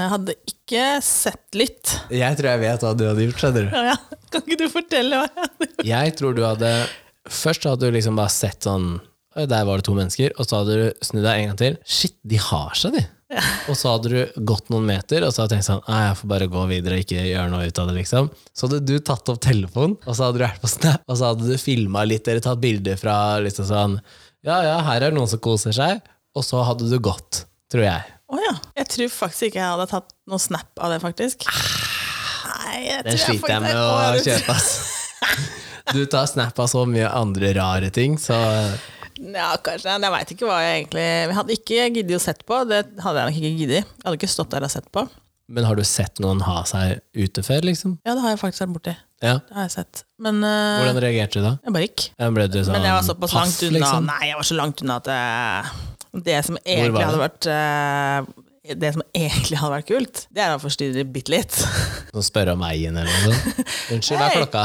[SPEAKER 2] Jeg hadde ikke sett litt.
[SPEAKER 1] Jeg tror jeg vet hva du hadde gjort. skjønner du?
[SPEAKER 2] Ja, ja. Kan ikke du fortelle hva jeg hadde
[SPEAKER 1] Jeg tror du hadde Først hadde du liksom bare sett sånn «Oi, Der var det to mennesker, og så hadde du snudd deg en gang til. Shit, de har seg, de! Og så hadde du gått noen meter og så hadde du tenkt sånn Nei, jeg får bare gå videre og ikke gjøre noe ut av det, liksom. Så hadde du tatt opp telefonen, og så hadde du vært på Snap, og så hadde du filma litt eller tatt bilder fra liksom sånn Ja, ja, her er det noen som koser seg. Og så hadde du gått, tror jeg.
[SPEAKER 2] Å ja. Jeg tror faktisk ikke jeg hadde tatt noe snap av det, faktisk. Nei, jeg
[SPEAKER 1] Den
[SPEAKER 2] tror jeg
[SPEAKER 1] Ah, sliter jeg med å
[SPEAKER 2] Å, du-
[SPEAKER 1] kjøpe, ass. Du tar snap av så mye andre rare ting, så
[SPEAKER 2] Ja, kanskje. Men Jeg veit ikke hva jeg egentlig Jeg hadde ikke giddet å sett på. Det hadde jeg nok ikke giddet. Jeg hadde ikke stått der og sett på.
[SPEAKER 1] Men har du sett noen ha seg ute før, liksom?
[SPEAKER 2] Ja, det har jeg faktisk vært borti.
[SPEAKER 1] Ja.
[SPEAKER 2] Det har jeg sett. Men eh,
[SPEAKER 1] Hvordan reagerte du da?
[SPEAKER 2] jeg bare gikk.
[SPEAKER 1] Ja, Ble du sånn
[SPEAKER 2] Men jeg var såpass
[SPEAKER 1] paff,
[SPEAKER 2] langt unna. Nei, jeg var så langt unna at eh, det
[SPEAKER 1] liksom.
[SPEAKER 2] som
[SPEAKER 1] var
[SPEAKER 2] egentlig
[SPEAKER 1] det?
[SPEAKER 2] hadde vært eh, det som egentlig hadde vært kult, det er å forstyrre bitte litt.
[SPEAKER 1] Sånn spørre om veien eller noe sånt? Unnskyld, hva er
[SPEAKER 2] Hei!
[SPEAKER 1] klokka?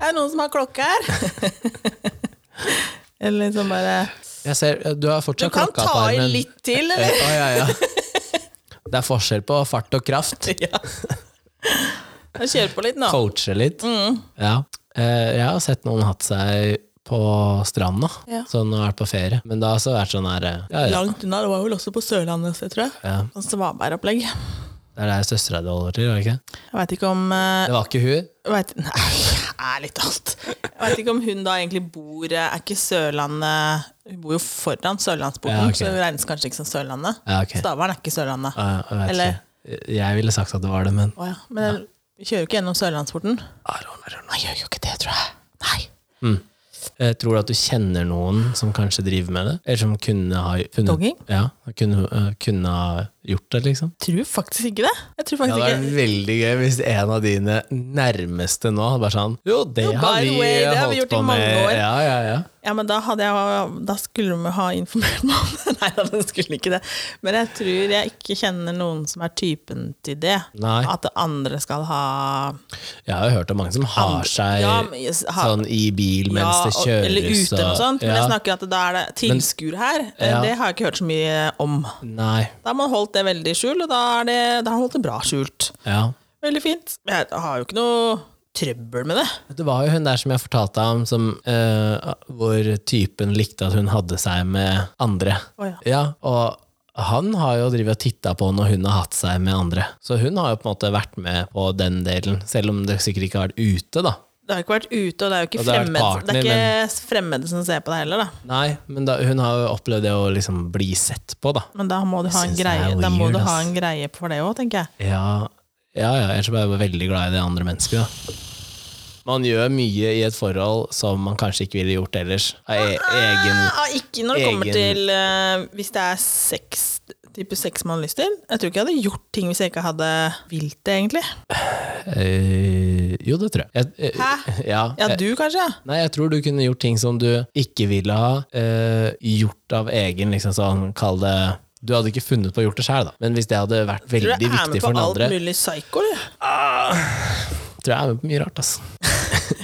[SPEAKER 2] Er det noen som har klokke her? Eller liksom bare
[SPEAKER 1] Jeg ser, du har
[SPEAKER 2] Du
[SPEAKER 1] fortsatt
[SPEAKER 2] kan
[SPEAKER 1] klokka
[SPEAKER 2] ta
[SPEAKER 1] på
[SPEAKER 2] i
[SPEAKER 1] armen.
[SPEAKER 2] litt til,
[SPEAKER 1] Eh,
[SPEAKER 2] eller?
[SPEAKER 1] å, ja, ja. Det er forskjell på fart og kraft.
[SPEAKER 2] Ja.
[SPEAKER 1] Eh,
[SPEAKER 2] Kjør på litt nå.
[SPEAKER 1] Coache litt.
[SPEAKER 2] Mm.
[SPEAKER 1] Ja. Eh, Jeg har sett noen hatt seg på stranda,
[SPEAKER 2] Ja.
[SPEAKER 1] sånn og vært på ferie. Men det har også vært sånn her eh, ja, ja.
[SPEAKER 2] Langt unna. Det var vel også på Sørlandet, så jeg tror jeg.
[SPEAKER 1] Ja.
[SPEAKER 2] Sånn svabergopplegg. Jeg
[SPEAKER 1] Det er der søstera di holder til, var det ikke?
[SPEAKER 2] veit ikke om eh,
[SPEAKER 1] Det var ikke hun.
[SPEAKER 2] vet, Nei, ærlig talt. Jeg veit ikke om hun da egentlig bor eh, Er ikke Sørlandet Hun bor jo foran Sørlandsporten,
[SPEAKER 1] Ja, ok.
[SPEAKER 2] så hun regnes kanskje ikke som Sørlandet.
[SPEAKER 1] Ja, ok.
[SPEAKER 2] Stavern er ikke Sørlandet.
[SPEAKER 1] Ah, ja, jeg,
[SPEAKER 2] Eller-
[SPEAKER 1] vet ikke. jeg ville sagt at det var det, men
[SPEAKER 2] Å ja. Men jeg- vi kjører jo ikke gjennom Sørlandsporten.
[SPEAKER 1] I don't, I don't know.
[SPEAKER 2] Nei, gjør jo ikke det, tror jeg. Nei.
[SPEAKER 1] Eh, Tror du at du kjenner noen som kanskje driver med det? Eller som kunne ha funnet,
[SPEAKER 2] Dogging?
[SPEAKER 1] Ja, kunne, eh, kunne ha gjort det, liksom?
[SPEAKER 2] Tror faktisk ikke det. Jeg tror
[SPEAKER 1] Ja,
[SPEAKER 2] faktisk
[SPEAKER 1] det er
[SPEAKER 2] ikke
[SPEAKER 1] veldig gøy hvis en av dine nærmeste nå bare sånn Jo, det
[SPEAKER 2] Jo,
[SPEAKER 1] har
[SPEAKER 2] by
[SPEAKER 1] vi
[SPEAKER 2] the way, det
[SPEAKER 1] eh,
[SPEAKER 2] har
[SPEAKER 1] holdt
[SPEAKER 2] vi gjort i
[SPEAKER 1] på med.
[SPEAKER 2] mange år.
[SPEAKER 1] Ja, ja, ja.
[SPEAKER 2] Ja, men da, hadde jeg, da skulle vi ha informert meg om det. Nei da, den skulle ikke det. Men jeg tror jeg ikke kjenner noen som er typen til det.
[SPEAKER 1] Nei.
[SPEAKER 2] At det andre skal ha
[SPEAKER 1] Jeg har jo hørt om mange som har seg
[SPEAKER 2] Ja, men jeg s- ha-
[SPEAKER 1] sånn i bil
[SPEAKER 2] ja,
[SPEAKER 1] mens det
[SPEAKER 2] og-
[SPEAKER 1] kjøres.
[SPEAKER 2] Eller ute og sånt. Men
[SPEAKER 1] ja.
[SPEAKER 2] jeg snakker at da er det tilskuer her. Eh,
[SPEAKER 1] Ja.
[SPEAKER 2] Det har jeg ikke hørt så mye om.
[SPEAKER 1] Nei.
[SPEAKER 2] Da har man holdt det veldig i skjul, og da, er det, da har man holdt det bra skjult.
[SPEAKER 1] Ja.
[SPEAKER 2] Veldig fint. Men Jeg har jo ikke noe trøbbel med det.
[SPEAKER 1] Det var jo hun der som jeg fortalte om, som, eh, hvor typen likte at hun hadde seg med andre.
[SPEAKER 2] Å, ja.
[SPEAKER 1] og han har jo drivet og titta på når hun har hatt seg med andre. Så hun har jo på en måte vært med på den delen, selv om det sikkert ikke har vært ute, da.
[SPEAKER 2] Det har ikke vært ute, og det er jo ikke
[SPEAKER 1] Og det har vært
[SPEAKER 2] fremmede
[SPEAKER 1] partner,
[SPEAKER 2] det er ikke fremmede som ser på deg heller, da.
[SPEAKER 1] Nei, men da, hun har jo opplevd det å liksom bli sett på, da.
[SPEAKER 2] Men da må du ha en
[SPEAKER 1] synes det er
[SPEAKER 2] greie, da må
[SPEAKER 1] weird,
[SPEAKER 2] du ha
[SPEAKER 1] ass.
[SPEAKER 2] en greie på det òg, tenker jeg.
[SPEAKER 1] Ja, ja, ja ellers er jeg bare veldig glad i det andre mennesket, da. Man gjør mye i et forhold som man kanskje ikke ville gjort ellers. Av e egen
[SPEAKER 2] Ah, ikke når det kommer
[SPEAKER 1] egen-
[SPEAKER 2] til eh, Hvis det er sex, type sex man har lyst til. Jeg tror ikke jeg hadde gjort ting hvis jeg ikke hadde vilt det, egentlig.
[SPEAKER 1] Eh, Jo, det tror jeg. jeg eh,
[SPEAKER 2] Hæ?
[SPEAKER 1] Ja,
[SPEAKER 2] Ja,
[SPEAKER 1] jeg-
[SPEAKER 2] du kanskje?
[SPEAKER 1] Nei, jeg tror du kunne gjort ting som du ikke ville ha eh, gjort av egen liksom sånn, kall det Du hadde ikke funnet på å gjort det sjøl, da. Men hvis det hadde vært
[SPEAKER 2] Tror
[SPEAKER 1] veldig
[SPEAKER 2] du jeg er
[SPEAKER 1] viktig
[SPEAKER 2] med
[SPEAKER 1] for
[SPEAKER 2] på
[SPEAKER 1] den
[SPEAKER 2] alt
[SPEAKER 1] andre
[SPEAKER 2] mulig psycho, du?
[SPEAKER 1] Tror jeg er med på mye rart, ass.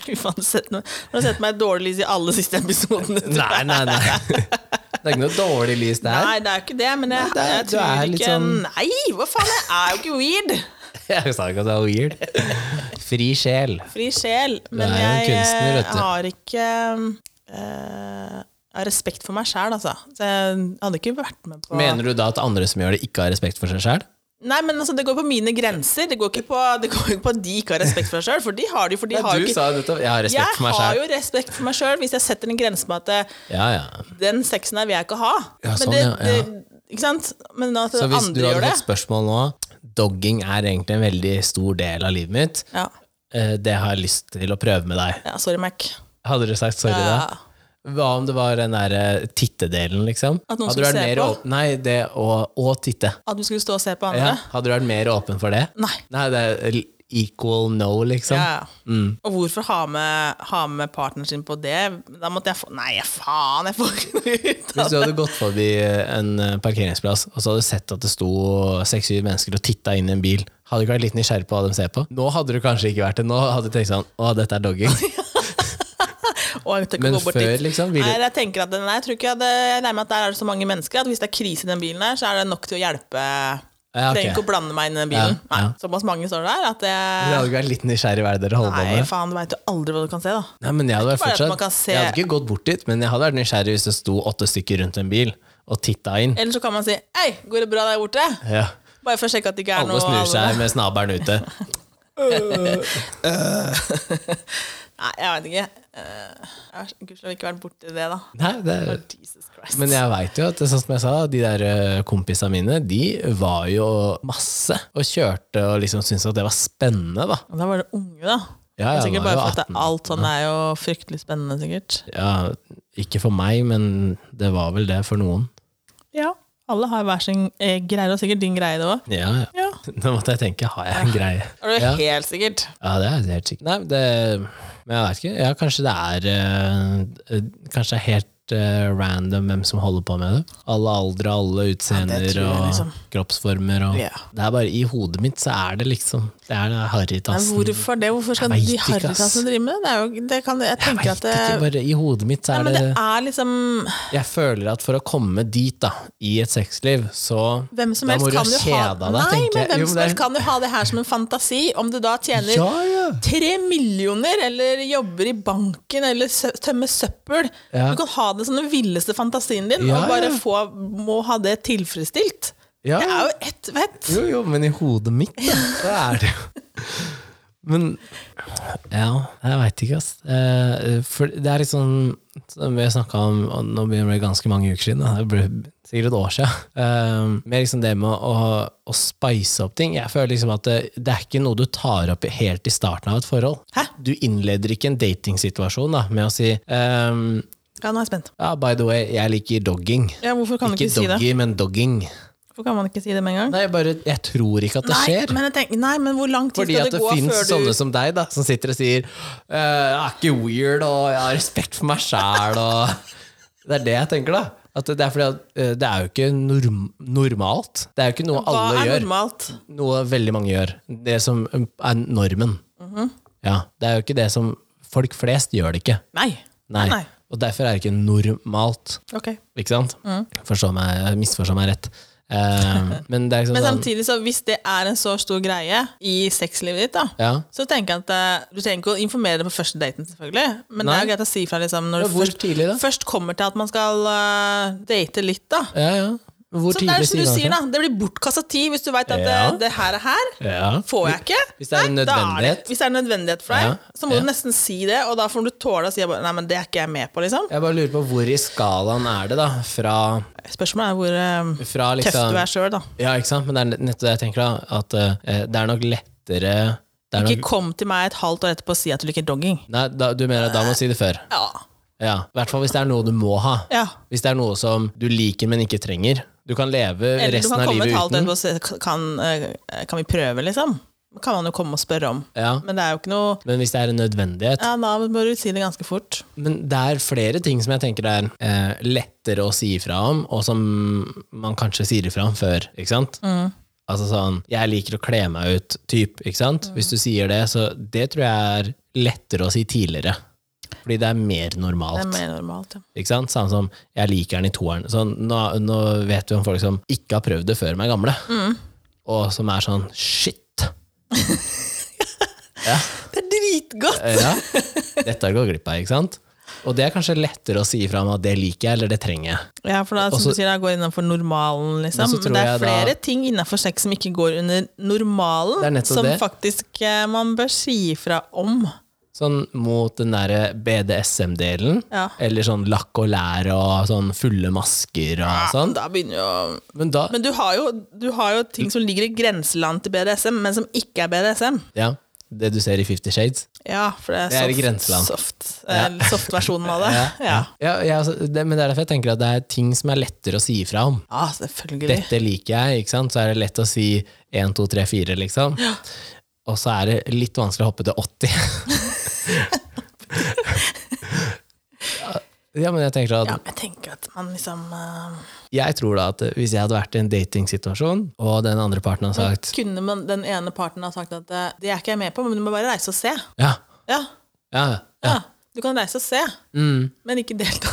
[SPEAKER 2] Fy faen, du har sett meg- du har sett meg i dårlig lys i alle siste episodene. tror jeg.
[SPEAKER 1] Nei, nei, nei. Det er ikke noe dårlig lys der.
[SPEAKER 2] Nei, det er jo ikke det, men jeg,
[SPEAKER 1] Nei, det er-
[SPEAKER 2] jeg
[SPEAKER 1] du
[SPEAKER 2] tror
[SPEAKER 1] er litt
[SPEAKER 2] ikke
[SPEAKER 1] sånn-
[SPEAKER 2] Nei, hva faen, jeg er jo ikke weird!
[SPEAKER 1] Jeg sa ikke at det var weird. Fri sjel.
[SPEAKER 2] Fri sjel. Men
[SPEAKER 1] er jo en
[SPEAKER 2] jeg
[SPEAKER 1] kunstner, vet
[SPEAKER 2] eh,
[SPEAKER 1] du.
[SPEAKER 2] har ikke eh, av respekt for meg sjæl, altså. Så jeg hadde ikke vært med på
[SPEAKER 1] Mener du da at andre som gjør det, ikke har respekt for seg sjæl?
[SPEAKER 2] Nei, men altså, det går på mine grenser. Det går ikke på, det går ikke på at de ikke har respekt for seg sjøl, for de har det jo. For de har jo
[SPEAKER 1] Du
[SPEAKER 2] ikke
[SPEAKER 1] sa nettopp 'jeg har respekt
[SPEAKER 2] Jeg
[SPEAKER 1] for meg
[SPEAKER 2] har
[SPEAKER 1] sjæl'.
[SPEAKER 2] jo respekt for meg sjøl hvis jeg setter en grense på at eh,
[SPEAKER 1] Ja, ja.
[SPEAKER 2] den sexen her vil jeg ikke ha.
[SPEAKER 1] Ja,
[SPEAKER 2] Men
[SPEAKER 1] sånn,
[SPEAKER 2] det,
[SPEAKER 1] ja, ja.
[SPEAKER 2] Det, ikke sant? Men at
[SPEAKER 1] Så hvis du
[SPEAKER 2] andre gjør
[SPEAKER 1] hadde
[SPEAKER 2] det
[SPEAKER 1] fått spørsmål nå Dogging er egentlig en veldig stor del av livet mitt.
[SPEAKER 2] ja.
[SPEAKER 1] Eh, Det har jeg lyst til å prøve med deg.
[SPEAKER 2] ja, sorry, Mac.
[SPEAKER 1] Hadde du sagt sorry da?
[SPEAKER 2] Ja.
[SPEAKER 1] Hva om det var den derre tittedelen, liksom?
[SPEAKER 2] At noen
[SPEAKER 1] Hadde du
[SPEAKER 2] skulle
[SPEAKER 1] vært
[SPEAKER 2] se
[SPEAKER 1] mer
[SPEAKER 2] på?
[SPEAKER 1] åpen Nei, det å, å titte.
[SPEAKER 2] At du skulle stå og se
[SPEAKER 1] Ja.
[SPEAKER 2] på andre?
[SPEAKER 1] Hadde du vært mer åpen for det?
[SPEAKER 2] Nei.
[SPEAKER 1] Nei, det er equal no, liksom.
[SPEAKER 2] Ja. Og hvorfor ha med, ha med partneren sin på det? Da måtte jeg få Nei, faen, jeg får ikke noe ut
[SPEAKER 1] Hvis
[SPEAKER 2] av
[SPEAKER 1] du
[SPEAKER 2] det.
[SPEAKER 1] hadde gått forbi en eh, parkeringsplass og så hadde du sett at det sto seks-syv mennesker og titta inn i en bil, hadde du ikke vært litt nysgjerrig på hva de ser på? Nå hadde du kanskje ikke vært det. Nå hadde du tenkt sånn Å, dette er dogging.
[SPEAKER 2] Og jeg tør ikke
[SPEAKER 1] Men
[SPEAKER 2] gå bort
[SPEAKER 1] før,
[SPEAKER 2] dit.
[SPEAKER 1] liksom, ville-
[SPEAKER 2] Nei, jeg tenker at det- nei, jeg tror ikke jeg hadde Jeg regner med at der er det så mange mennesker at hvis det er krise i den bilen her, så er det nok til å hjelpe.
[SPEAKER 1] Ja, ok.
[SPEAKER 2] Trenger ikke å blande meg inn i den bilen.
[SPEAKER 1] Ja, ja.
[SPEAKER 2] Nei, såpass mange står der at
[SPEAKER 1] Du
[SPEAKER 2] jeg
[SPEAKER 1] hadde ikke vært litt nysgjerrig hva er det dere holder på
[SPEAKER 2] Nei,
[SPEAKER 1] med?
[SPEAKER 2] faen, du veit jo aldri hva du kan se, da.
[SPEAKER 1] Nei, men jeg hadde vært
[SPEAKER 2] bare at man
[SPEAKER 1] fortsatt
[SPEAKER 2] kan se-
[SPEAKER 1] Jeg hadde ikke gått bort dit, men jeg hadde vært nysgjerrig hvis det sto åtte stykker rundt en bil og titta inn.
[SPEAKER 2] Eller så kan man si 'hei, går det bra der borte?'
[SPEAKER 1] Ja.
[SPEAKER 2] Bare for å sjekke at det ikke er noe
[SPEAKER 1] Alle snur seg mens naboen er ute.
[SPEAKER 2] Nei, jeg veit ikke. Eh, Jeg har gudskjelov ikke vært borti det, da.
[SPEAKER 1] Nei, det er
[SPEAKER 2] Oh, Jesus Christ.
[SPEAKER 1] Men jeg veit jo at sånn som jeg sa, de der eh, kompisene mine De var jo masse og kjørte og liksom syntes at det var spennende, da.
[SPEAKER 2] Og Da var det unge, da.
[SPEAKER 1] Ja,
[SPEAKER 2] Det
[SPEAKER 1] ja,
[SPEAKER 2] er sikkert
[SPEAKER 1] da er
[SPEAKER 2] bare
[SPEAKER 1] jo
[SPEAKER 2] for at det, alt sånn er jo fryktelig spennende, sikkert.
[SPEAKER 1] Ja, ikke for meg, men det var vel det for noen.
[SPEAKER 2] Ja, alle har hver sin eh, greie, og sikkert din greie det òg.
[SPEAKER 1] Ja, ja.
[SPEAKER 2] Ja.
[SPEAKER 1] Nå måtte jeg tenke, har jeg en greie?
[SPEAKER 2] Er det
[SPEAKER 1] Ja.
[SPEAKER 2] helt sikkert?
[SPEAKER 1] Ja, det er helt sikkert. Nei, det, men jeg veit ikke. Ja, kanskje det er eh, eh, Kanskje det er helt eh, random hvem som holder på med det. Alle aldre, alle utseender
[SPEAKER 2] tror jeg,
[SPEAKER 1] og
[SPEAKER 2] liksom.
[SPEAKER 1] kroppsformer og
[SPEAKER 2] Ja.
[SPEAKER 1] Det er bare I hodet mitt så er det liksom Det er den
[SPEAKER 2] Nei,
[SPEAKER 1] harrytassen.
[SPEAKER 2] hvorfor det? Hvorfor skal
[SPEAKER 1] Jeg vet
[SPEAKER 2] de
[SPEAKER 1] ikke, ass.
[SPEAKER 2] harrytassene drive med det? det? Er jo, det kan, jeg
[SPEAKER 1] Jeg
[SPEAKER 2] tenker
[SPEAKER 1] veit
[SPEAKER 2] at det,
[SPEAKER 1] ikke, bare i hodet mitt så
[SPEAKER 2] Nei,
[SPEAKER 1] er
[SPEAKER 2] men
[SPEAKER 1] det
[SPEAKER 2] det er liksom
[SPEAKER 1] Jeg føler at for å komme dit, da, i et sexliv, så
[SPEAKER 2] Hvem som
[SPEAKER 1] Da
[SPEAKER 2] helst
[SPEAKER 1] må du
[SPEAKER 2] kan
[SPEAKER 1] ha
[SPEAKER 2] jo ha
[SPEAKER 1] kjeda deg,
[SPEAKER 2] Nei,
[SPEAKER 1] tenker
[SPEAKER 2] men
[SPEAKER 1] jeg.
[SPEAKER 2] hvem
[SPEAKER 1] Jo, men
[SPEAKER 2] som
[SPEAKER 1] det er-
[SPEAKER 2] helst kan jo ha det her som en fantasi. Om du da tjener
[SPEAKER 1] Ja, ja!
[SPEAKER 2] tre millioner, eller jobber i banken, eller sø- tømmer søppel.
[SPEAKER 1] Ja.
[SPEAKER 2] Du kan ha det som den villeste fantasien din,
[SPEAKER 1] Ja,
[SPEAKER 2] og bare
[SPEAKER 1] ja.
[SPEAKER 2] få, må ha det tilfredsstilt.
[SPEAKER 1] Ja,
[SPEAKER 2] Det
[SPEAKER 1] ja.
[SPEAKER 2] er jo ett vett.
[SPEAKER 1] Jo, jo, men i hodet mitt, da, så er det jo Men Ja, jeg veit ikke, ass. Eh, for det er litt sånn Som vi snakka om og Nå begynner det å bli ganske mange uker siden, da. det ble sikkert et år siden. Eh, med liksom det med å, å spice opp ting. Jeg føler liksom at det, det er ikke noe du tar opp helt i starten av et forhold.
[SPEAKER 2] Hæ?
[SPEAKER 1] Du innleder ikke en datingsituasjon da, med å si ehm,
[SPEAKER 2] Ja, nå er jeg spent.
[SPEAKER 1] ja, by the way, jeg liker dogging.
[SPEAKER 2] Ja, hvorfor kan du
[SPEAKER 1] Ikke
[SPEAKER 2] ikke si det?
[SPEAKER 1] doggy, men dogging.
[SPEAKER 2] Hvorfor kan man ikke si det med en gang?
[SPEAKER 1] Nei, jeg bare, jeg tror ikke at det skjer.
[SPEAKER 2] men, jeg tenker, nei, men hvor lang tid
[SPEAKER 1] Fordi
[SPEAKER 2] skal
[SPEAKER 1] at
[SPEAKER 2] det
[SPEAKER 1] det
[SPEAKER 2] gå
[SPEAKER 1] finnes
[SPEAKER 2] før
[SPEAKER 1] sånne
[SPEAKER 2] du
[SPEAKER 1] som deg, da, som sitter og sier «Øh, 'Jeg er ikke weird, og jeg har respekt for meg sjæl', og Det er det jeg tenker, da. At det er fordi at øh, det er jo ikke norm normalt. Det er jo ikke noe
[SPEAKER 2] Hva
[SPEAKER 1] alle
[SPEAKER 2] er
[SPEAKER 1] gjør.
[SPEAKER 2] normalt?
[SPEAKER 1] Noe veldig mange gjør. Det som eh, er normen.
[SPEAKER 2] Mhm.
[SPEAKER 1] Ja, det er jo ikke det som Folk flest gjør det ikke.
[SPEAKER 2] Nei.
[SPEAKER 1] Nei.
[SPEAKER 2] Nei.
[SPEAKER 1] Og derfor er det ikke normalt.
[SPEAKER 2] Ok.
[SPEAKER 1] Ikke sant?
[SPEAKER 2] Mm.
[SPEAKER 1] Forstå meg, misforstå meg rett. Eh, men det er liksom
[SPEAKER 2] Men
[SPEAKER 1] sånn
[SPEAKER 2] samtidig, så hvis det er en så stor greie i sexlivet ditt, da,
[SPEAKER 1] ja.
[SPEAKER 2] så tenker jeg at eh, du trenger ikke å informere det på første daten, selvfølgelig. Men det
[SPEAKER 1] Nei.
[SPEAKER 2] er jo greit å si fra liksom, når
[SPEAKER 1] Ja,
[SPEAKER 2] du
[SPEAKER 1] hvor
[SPEAKER 2] først,
[SPEAKER 1] tidlig da?
[SPEAKER 2] først kommer til at man skal eh, date litt, da.
[SPEAKER 1] ja, ja. Hvor
[SPEAKER 2] Så det er
[SPEAKER 1] tidlig
[SPEAKER 2] Sånn som
[SPEAKER 1] man
[SPEAKER 2] du sier,
[SPEAKER 1] det?
[SPEAKER 2] da. Det blir bortkasta tid hvis du veit at
[SPEAKER 1] Ja.
[SPEAKER 2] eh, det her er her.
[SPEAKER 1] Ja.
[SPEAKER 2] Får jeg ikke?
[SPEAKER 1] Hvis det er en
[SPEAKER 2] Nei, da
[SPEAKER 1] nødvendighet.
[SPEAKER 2] det, hvis det er en nødvendighet for deg,
[SPEAKER 1] Ja,
[SPEAKER 2] så må
[SPEAKER 1] ja.
[SPEAKER 2] du nesten si det, og da får du tåle å si bare, Nei, men det er ikke jeg med på, liksom.
[SPEAKER 1] Jeg bare lurer på hvor i skalaen er det, da? Fra,
[SPEAKER 2] Spørsmålet er hvor eh,
[SPEAKER 1] fra
[SPEAKER 2] tøff
[SPEAKER 1] liksom
[SPEAKER 2] du er sjøl, da.
[SPEAKER 1] Ja, ikke sant? Men det er nettopp det jeg tenker, da. At eh, det er nok lettere det er
[SPEAKER 2] Ikke
[SPEAKER 1] nok,
[SPEAKER 2] kom til meg et halvt år etterpå og si at du liker dogging.
[SPEAKER 1] Nei, da, du mener at da må du si det før?
[SPEAKER 2] Ja.
[SPEAKER 1] Ja. I hvert fall hvis det er noe du må ha.
[SPEAKER 2] ja.
[SPEAKER 1] Hvis det er noe som du liker, men ikke trenger. Du kan leve
[SPEAKER 2] Eller du
[SPEAKER 1] resten
[SPEAKER 2] kan
[SPEAKER 1] av
[SPEAKER 2] komme et
[SPEAKER 1] livet
[SPEAKER 2] halvt år
[SPEAKER 1] uten.
[SPEAKER 2] etterpå og si kan, eh, kan vi prøve, liksom? Kan man jo komme og spørre om.
[SPEAKER 1] Ja.
[SPEAKER 2] Men det er jo ikke noe
[SPEAKER 1] Men hvis det er en nødvendighet
[SPEAKER 2] ja, Da må du si det ganske fort.
[SPEAKER 1] Men det er flere ting som jeg tenker er eh, lettere å si ifra om, og som man kanskje sier ifra om før, ikke sant?
[SPEAKER 2] Mm.
[SPEAKER 1] Altså sånn, jeg liker å kle meg ut, typ, ikke sant? Hvis du sier det, så det tror jeg er lettere å si tidligere. Fordi det er mer
[SPEAKER 2] Det er
[SPEAKER 1] normalt.
[SPEAKER 2] mer normalt, ja.
[SPEAKER 1] Ikke sant? Samme som jeg liker den i toeren. Så nå, nå vet vi om folk som ikke har prøvd det før de er gamle,
[SPEAKER 2] Mm.
[SPEAKER 1] og som er sånn shit. ja,
[SPEAKER 2] Det er dritgodt!
[SPEAKER 1] eh, ja. Dette går glipp av, ikke sant? Og det er kanskje lettere å si fra om at det liker jeg, eller det trenger jeg.
[SPEAKER 2] Ja, for da, som
[SPEAKER 1] Også-
[SPEAKER 2] du sier, det går innenfor normalen,
[SPEAKER 1] Men
[SPEAKER 2] liksom.
[SPEAKER 1] så tror
[SPEAKER 2] Men det er
[SPEAKER 1] jeg da-
[SPEAKER 2] flere ting innenfor sex som ikke går under
[SPEAKER 1] Det er
[SPEAKER 2] normalen,
[SPEAKER 1] nettopp
[SPEAKER 2] som
[SPEAKER 1] det.
[SPEAKER 2] faktisk eh, man bør si ifra om.
[SPEAKER 1] Sånn mot den derre BDSM-delen,
[SPEAKER 2] Ja.
[SPEAKER 1] eller sånn lakk og lær og sånn fulle masker og sånn.
[SPEAKER 2] Da begynner jo
[SPEAKER 1] Men da
[SPEAKER 2] Ah. Men du har jo, du har jo ting som ligger i grenseland til BDSM, men som ikke er BDSM.
[SPEAKER 1] Ja, det du ser i Fifty Shades.
[SPEAKER 2] Ja, for det er,
[SPEAKER 1] Det er i
[SPEAKER 2] soft-
[SPEAKER 1] grenseland.
[SPEAKER 2] Soft, eh, soft-versjonen av det. Ja.
[SPEAKER 1] Ja, ja, altså, det, men det er derfor jeg tenker at det er ting som er lettere å si ifra om.
[SPEAKER 2] ja, selvfølgelig.
[SPEAKER 1] Dette liker jeg, ikke sant? Så er det lett å si 1, 2, 3, 4, liksom. Og så er det litt vanskelig å hoppe til 80. ja, men jeg tenker
[SPEAKER 2] Ja,
[SPEAKER 1] at
[SPEAKER 2] men jeg tenker at man liksom eh,
[SPEAKER 1] jeg tror da at hvis jeg hadde vært i en datingsituasjon, og den andre parten hadde sagt
[SPEAKER 2] Kunne man, den ene parten ha sagt at eh, det er ikke jeg med på, men du må bare reise og se.
[SPEAKER 1] ja,
[SPEAKER 2] Ja,
[SPEAKER 1] ja, Mm.
[SPEAKER 2] ja. Ah, Du kan reise og se, men ikke delta.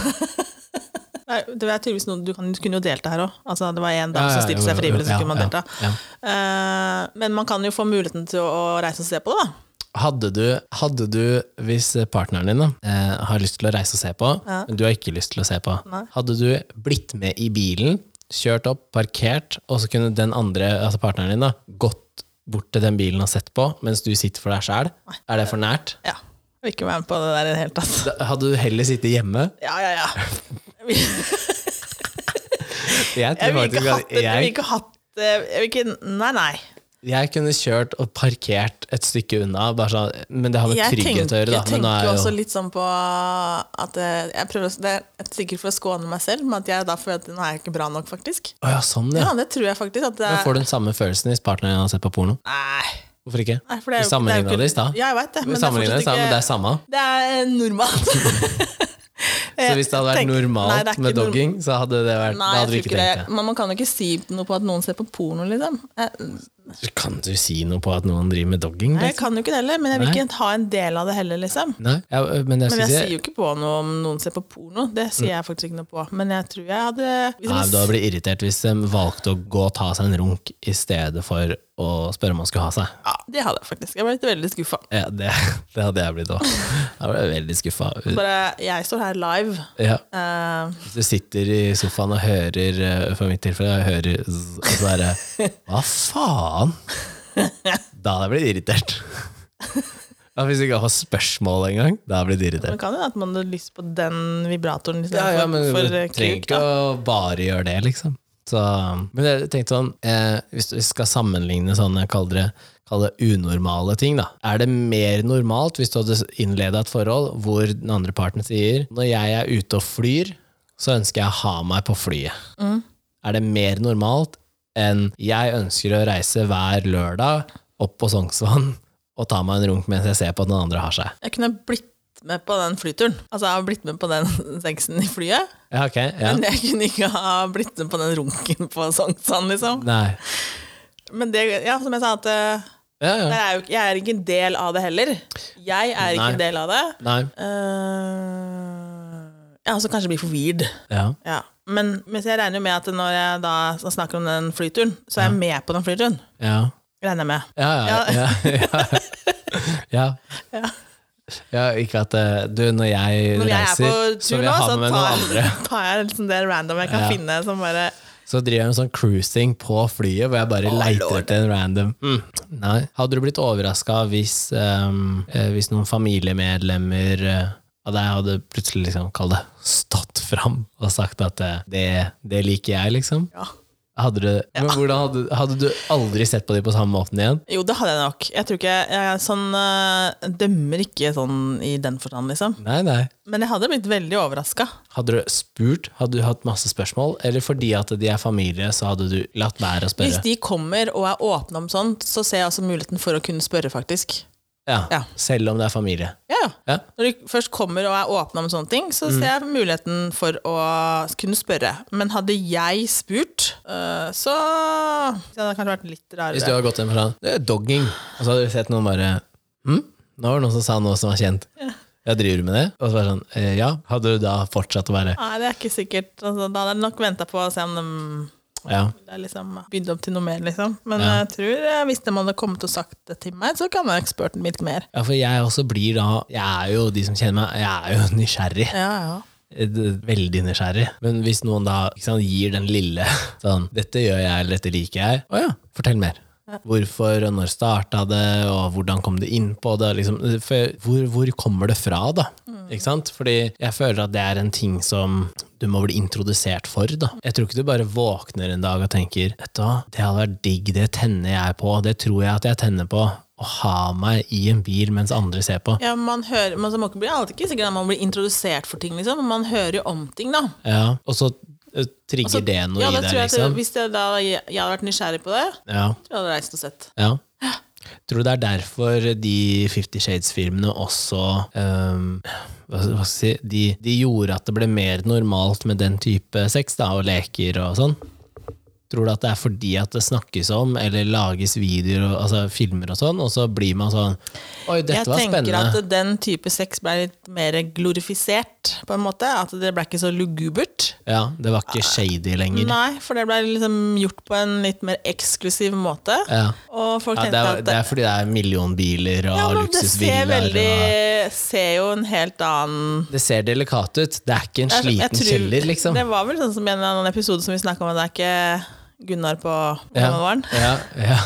[SPEAKER 2] Nei, det er tydeligvis noe, du, kan, du kunne jo delta her òg. Altså, det var én dame
[SPEAKER 1] Ja, ja,
[SPEAKER 2] som stilte seg
[SPEAKER 1] jo, jo,
[SPEAKER 2] frivillig, så
[SPEAKER 1] ja,
[SPEAKER 2] kunne man
[SPEAKER 1] ja,
[SPEAKER 2] delta.
[SPEAKER 1] ja.
[SPEAKER 2] Eh, men man kan jo få muligheten til å, å reise og se på det, da.
[SPEAKER 1] Hadde du, hadde du, hvis partneren din da, eh, har lyst til å reise og se på, men du har ikke lyst til å se på, hadde du blitt med i bilen, kjørt opp, parkert, og så kunne den andre, altså partneren din da, gått bort til den bilen og sett på, mens du sitter for deg selv? Er det for nært?
[SPEAKER 2] Ja. Jeg vil ikke være med på det der i det hele tatt.
[SPEAKER 1] Da hadde du heller sittet hjemme?
[SPEAKER 2] Ja, ja, ja.
[SPEAKER 1] Jeg,
[SPEAKER 2] Jeg
[SPEAKER 1] tror
[SPEAKER 2] vil
[SPEAKER 1] faktisk
[SPEAKER 2] ikke hatt
[SPEAKER 1] at
[SPEAKER 2] det. Jeg vil
[SPEAKER 1] jeg,
[SPEAKER 2] ikke hatt det. Jeg vil ikke Nei, nei.
[SPEAKER 1] jeg kunne kjørt og parkert et stykke unna, bare sånn, men det har med
[SPEAKER 2] Jeg
[SPEAKER 1] trygghet å
[SPEAKER 2] tenker,
[SPEAKER 1] gjøre da.
[SPEAKER 2] jeg
[SPEAKER 1] men nå er jeg
[SPEAKER 2] tenker
[SPEAKER 1] jo-
[SPEAKER 2] også litt sånn på at eh, jeg prøver, å- Det er sikkert for å skåne meg selv, men at jeg da føler at nå er jeg ikke bra nok, faktisk.
[SPEAKER 1] Å ja, sånn
[SPEAKER 2] Ja,
[SPEAKER 1] ja.
[SPEAKER 2] det tror jeg faktisk. At det,
[SPEAKER 1] Men får du den samme følelsen hvis partneren din har sett på porno?
[SPEAKER 2] Nei.
[SPEAKER 1] Hvorfor ikke?
[SPEAKER 2] nei, for det er
[SPEAKER 1] du
[SPEAKER 2] jo ikke- det er jo
[SPEAKER 1] sammenligna
[SPEAKER 2] ikke-
[SPEAKER 1] det i stad.
[SPEAKER 2] Ja, jeg vet det.
[SPEAKER 1] Vi
[SPEAKER 2] Men det er
[SPEAKER 1] sammenligner det,
[SPEAKER 2] fortsatt
[SPEAKER 1] men det er
[SPEAKER 2] ikke
[SPEAKER 1] samme.
[SPEAKER 2] Det er normalt.
[SPEAKER 1] Så hvis det hadde vært
[SPEAKER 2] Tenk-
[SPEAKER 1] normalt
[SPEAKER 2] Nei, det er ikke
[SPEAKER 1] med
[SPEAKER 2] norm-
[SPEAKER 1] dogging, så hadde det vært,
[SPEAKER 2] Nei,
[SPEAKER 1] da
[SPEAKER 2] jeg
[SPEAKER 1] hadde vi
[SPEAKER 2] tror
[SPEAKER 1] ikke
[SPEAKER 2] ikke det.
[SPEAKER 1] tenkt
[SPEAKER 2] Men man kan jo ikke si noe på at noen ser på porno, liksom. Jeg,
[SPEAKER 1] det. Kan du si noe på at noen driver med dogging?
[SPEAKER 2] Nei, jeg
[SPEAKER 1] liksom?
[SPEAKER 2] kan jo ikke det heller, men jeg vil ikke ha en del av det heller, liksom.
[SPEAKER 1] Nei, ja, men jeg
[SPEAKER 2] Men
[SPEAKER 1] skulle
[SPEAKER 2] jeg
[SPEAKER 1] si
[SPEAKER 2] sier jo ikke på noe om noen ser på porno, det sier jeg faktisk ikke noe på. Men jeg tror jeg hadde hvis
[SPEAKER 1] Nei, men Du
[SPEAKER 2] jeg,
[SPEAKER 1] hadde blitt irritert hvis de valgte å gå og ta seg en runk i stedet for å spørre om man skulle ha seg.
[SPEAKER 2] ja, Det hadde jeg faktisk. Jeg ble litt veldig skuffa.
[SPEAKER 1] Ja, det, det hadde jeg blitt òg. Da ble jeg veldig skuffa.
[SPEAKER 2] Bare jeg står her live.
[SPEAKER 1] Ja,
[SPEAKER 2] eh,
[SPEAKER 1] hvis du sitter i sofaen og hører, eh, for mitt tilfelle, jeg hører zzz, og så er det Hva faen? Da hadde jeg blitt irritert. Ja, hvis du ikke har spørsmål engang, da hadde jeg blitt irritert.
[SPEAKER 2] men kan jo at man hadde lyst på den vibratoren
[SPEAKER 1] Ja,
[SPEAKER 2] istedenfor
[SPEAKER 1] ja, men
[SPEAKER 2] for,
[SPEAKER 1] du
[SPEAKER 2] for eh,
[SPEAKER 1] trenger
[SPEAKER 2] kuk.
[SPEAKER 1] ikke
[SPEAKER 2] Da.
[SPEAKER 1] å bare gjøre det, liksom. Så, men jeg tenkte sånn, eh, hvis vi skal sammenligne sånne, kall det, kall det unormale ting, da. Er det mer normalt hvis du hadde innleda et forhold hvor den andre parten sier når jeg er ute og flyr, så ønsker jeg å ha meg på flyet? Er det mer normalt enn jeg ønsker å reise hver lørdag opp på Sognsvann og ta meg en runk mens jeg ser på at den andre har seg?
[SPEAKER 2] Jeg kunne blitt med på den flyturen. Altså, jeg har blitt med på den sexen i flyet,
[SPEAKER 1] Ja, ok. Ja.
[SPEAKER 2] men jeg kunne ikke ha blitt med på den runken på Sognsvann, liksom.
[SPEAKER 1] Nei.
[SPEAKER 2] Men det, ja, som jeg sa, at eh,
[SPEAKER 1] Ja, ja.
[SPEAKER 2] Jeg er, jo, ikke- jeg er ikke en del av det heller. Jeg er ikke
[SPEAKER 1] Nei.
[SPEAKER 2] en del av det.
[SPEAKER 1] Nei.
[SPEAKER 2] Uh, ja, altså kanskje bli for weird.
[SPEAKER 1] Ja.
[SPEAKER 2] Ja. Men mens jeg regner jo med at når jeg da snakker om den flyturen, så er jeg med på den flyturen.
[SPEAKER 1] ja.
[SPEAKER 2] Regner jeg med.
[SPEAKER 1] Ja, ja, ja. ja, ja. Ja, ikke at eh, du, når jeg
[SPEAKER 2] Når jeg er
[SPEAKER 1] reiser,
[SPEAKER 2] på
[SPEAKER 1] så
[SPEAKER 2] tur
[SPEAKER 1] vil
[SPEAKER 2] nå,
[SPEAKER 1] jeg ha
[SPEAKER 2] så
[SPEAKER 1] med meg noen andre.
[SPEAKER 2] tar, tar jeg liksom det random jeg kan
[SPEAKER 1] Ja.
[SPEAKER 2] finne som bare
[SPEAKER 1] Så driver jeg en sånn cruising på flyet, hvor jeg bare leiter
[SPEAKER 2] lord.
[SPEAKER 1] etter en random. Mm. Nei. Hadde du blitt overraska hvis, ehm, eh, hvis noen familiemedlemmer eh, av deg hadde plutselig liksom, kall det, stått fram og sagt at eh, det, det liker jeg, liksom?
[SPEAKER 2] ja.
[SPEAKER 1] Hadde du, men hvordan hadde, hadde du aldri sett på dem på samme måten igjen?
[SPEAKER 2] Jo, det hadde jeg nok. Jeg tror ikke jeg er sånn eh, dømmer ikke sånn i den forstand, liksom.
[SPEAKER 1] Nei, nei.
[SPEAKER 2] Men jeg hadde blitt veldig overraska.
[SPEAKER 1] Hadde du spurt, hadde du hatt masse spørsmål, eller fordi at de er familie, så hadde du latt være å
[SPEAKER 2] Hvis
[SPEAKER 1] spørre?
[SPEAKER 2] de kommer og er åpne om sånt, så ser jeg også muligheten for å kunne spørre, faktisk.
[SPEAKER 1] Ja,
[SPEAKER 2] Ja.
[SPEAKER 1] Selv om det er familie.
[SPEAKER 2] Ja, ja.
[SPEAKER 1] Ja.
[SPEAKER 2] Når de først kommer og er åpne om sånne ting, så
[SPEAKER 1] Mm.
[SPEAKER 2] ser jeg muligheten for å kunne spørre. Men hadde jeg spurt, øh, så så hadde det kanskje vært litt
[SPEAKER 1] Hvis du
[SPEAKER 2] rarere.
[SPEAKER 1] har gått hjem og sagt 'det er dogging', og så hadde du sett noen bare hm? Nå var det noen som sa noe som var kjent. Ja, driver du med det? Og så var det sånn, eh, ja. Hadde du da fortsatt å være
[SPEAKER 2] Nei, det er ikke sikkert. Altså, da hadde jeg nok venta på å se om de
[SPEAKER 1] Ja.
[SPEAKER 2] ville liksom bygde opp til noe mer, liksom. Men
[SPEAKER 1] Ja.
[SPEAKER 2] jeg tror eh, hvis de hadde kommet og sagt det til meg, så kan jo eksperten litt mer.
[SPEAKER 1] Ja, for jeg også blir da Jeg er jo, de som kjenner meg, jeg er jo nysgjerrig.
[SPEAKER 2] Ja, ja.
[SPEAKER 1] Eh, Veldig nysgjerrig. Men hvis noen da ikke sant, gir den lille sånn 'Dette gjør jeg, eller dette liker jeg.' Å ja, fortell mer. Hvorfor, og når starta det, og hvordan kom du inn på det? Liksom, for hvor, hvor kommer det fra, da?
[SPEAKER 2] Mm.
[SPEAKER 1] Ikke sant? Fordi jeg føler at det er en ting som du må bli introdusert for. da. Jeg tror ikke du bare våkner en dag og tenker vet du hva, det hadde vært digg, det tenner jeg på, det tror jeg at jeg tenner på. Å ha meg i en bil mens andre ser på.
[SPEAKER 2] Ja, man hører, man man blir alltid ikke sikker at man blir introdusert for ting, liksom, men man hører jo om ting, da.
[SPEAKER 1] Ja, Og så eh, trigger
[SPEAKER 2] Altså,
[SPEAKER 1] det noe
[SPEAKER 2] ja,
[SPEAKER 1] i
[SPEAKER 2] da
[SPEAKER 1] deg,
[SPEAKER 2] tror jeg at
[SPEAKER 1] liksom.
[SPEAKER 2] Hvis jeg, da, jeg hadde vært nysgjerrig på det,
[SPEAKER 1] Ja.
[SPEAKER 2] tror jeg hadde reist og sett.
[SPEAKER 1] Ja. Tror du det er derfor de Fifty Shades-filmene også ehm, hva, hva skal jeg si de, de gjorde at det ble mer normalt med den type sex da, og leker og sånn? Tror du at det er fordi at det snakkes om, eller lages videoer og altså, filmer og sånn, og så blir man sånn Oi, dette
[SPEAKER 2] jeg
[SPEAKER 1] var
[SPEAKER 2] tenker
[SPEAKER 1] spennende.
[SPEAKER 2] at den type sex ble litt mer glorifisert, på en måte. At det ble ikke så lugubert.
[SPEAKER 1] Ja, det var ikke shady lenger.
[SPEAKER 2] Nei, for det ble liksom gjort på en litt mer eksklusiv måte.
[SPEAKER 1] Ja.
[SPEAKER 2] Og folk
[SPEAKER 1] Ja, det,
[SPEAKER 2] tenkte
[SPEAKER 1] er,
[SPEAKER 2] at
[SPEAKER 1] det er fordi det er millionbiler og
[SPEAKER 2] ja, men det ser
[SPEAKER 1] luksusbiler.
[SPEAKER 2] veldig
[SPEAKER 1] og,
[SPEAKER 2] Ser jo en helt annen
[SPEAKER 1] det ser delikat ut. Det er ikke en
[SPEAKER 2] Jeg- jeg
[SPEAKER 1] sliten
[SPEAKER 2] tror-
[SPEAKER 1] kjeller, liksom.
[SPEAKER 2] Det var vel sånn som i en eller annen episode som vi snakka om, at det er ikke Gunnar på Grønnevaren.
[SPEAKER 1] Ja, ja.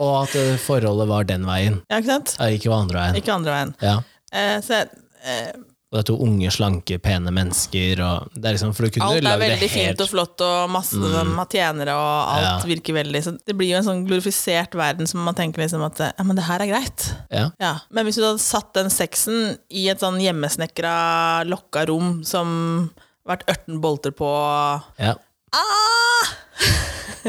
[SPEAKER 1] Og at eh, forholdet var den veien,
[SPEAKER 2] Ja, ikke sant?
[SPEAKER 1] eh, ikke var andre veien.
[SPEAKER 2] Ikke andre veien.
[SPEAKER 1] Ja.
[SPEAKER 2] Eh, så jeg- eh,
[SPEAKER 1] Og det er to unge, slanke, pene mennesker. Og det er liksom, for du kunne
[SPEAKER 2] alt er
[SPEAKER 1] lagd det
[SPEAKER 2] veldig fint
[SPEAKER 1] helt
[SPEAKER 2] og flott, og masse mm. tjenere, og alt virker veldig Så det blir jo en sånn glorifisert verden som man tenker liksom at eh, ja, men det her er greit.
[SPEAKER 1] ja.
[SPEAKER 2] Ja. Men hvis du hadde satt den sexen i et sånn hjemmesnekra, lokka rom som vært ørten bolter på
[SPEAKER 1] Ja.
[SPEAKER 2] ah!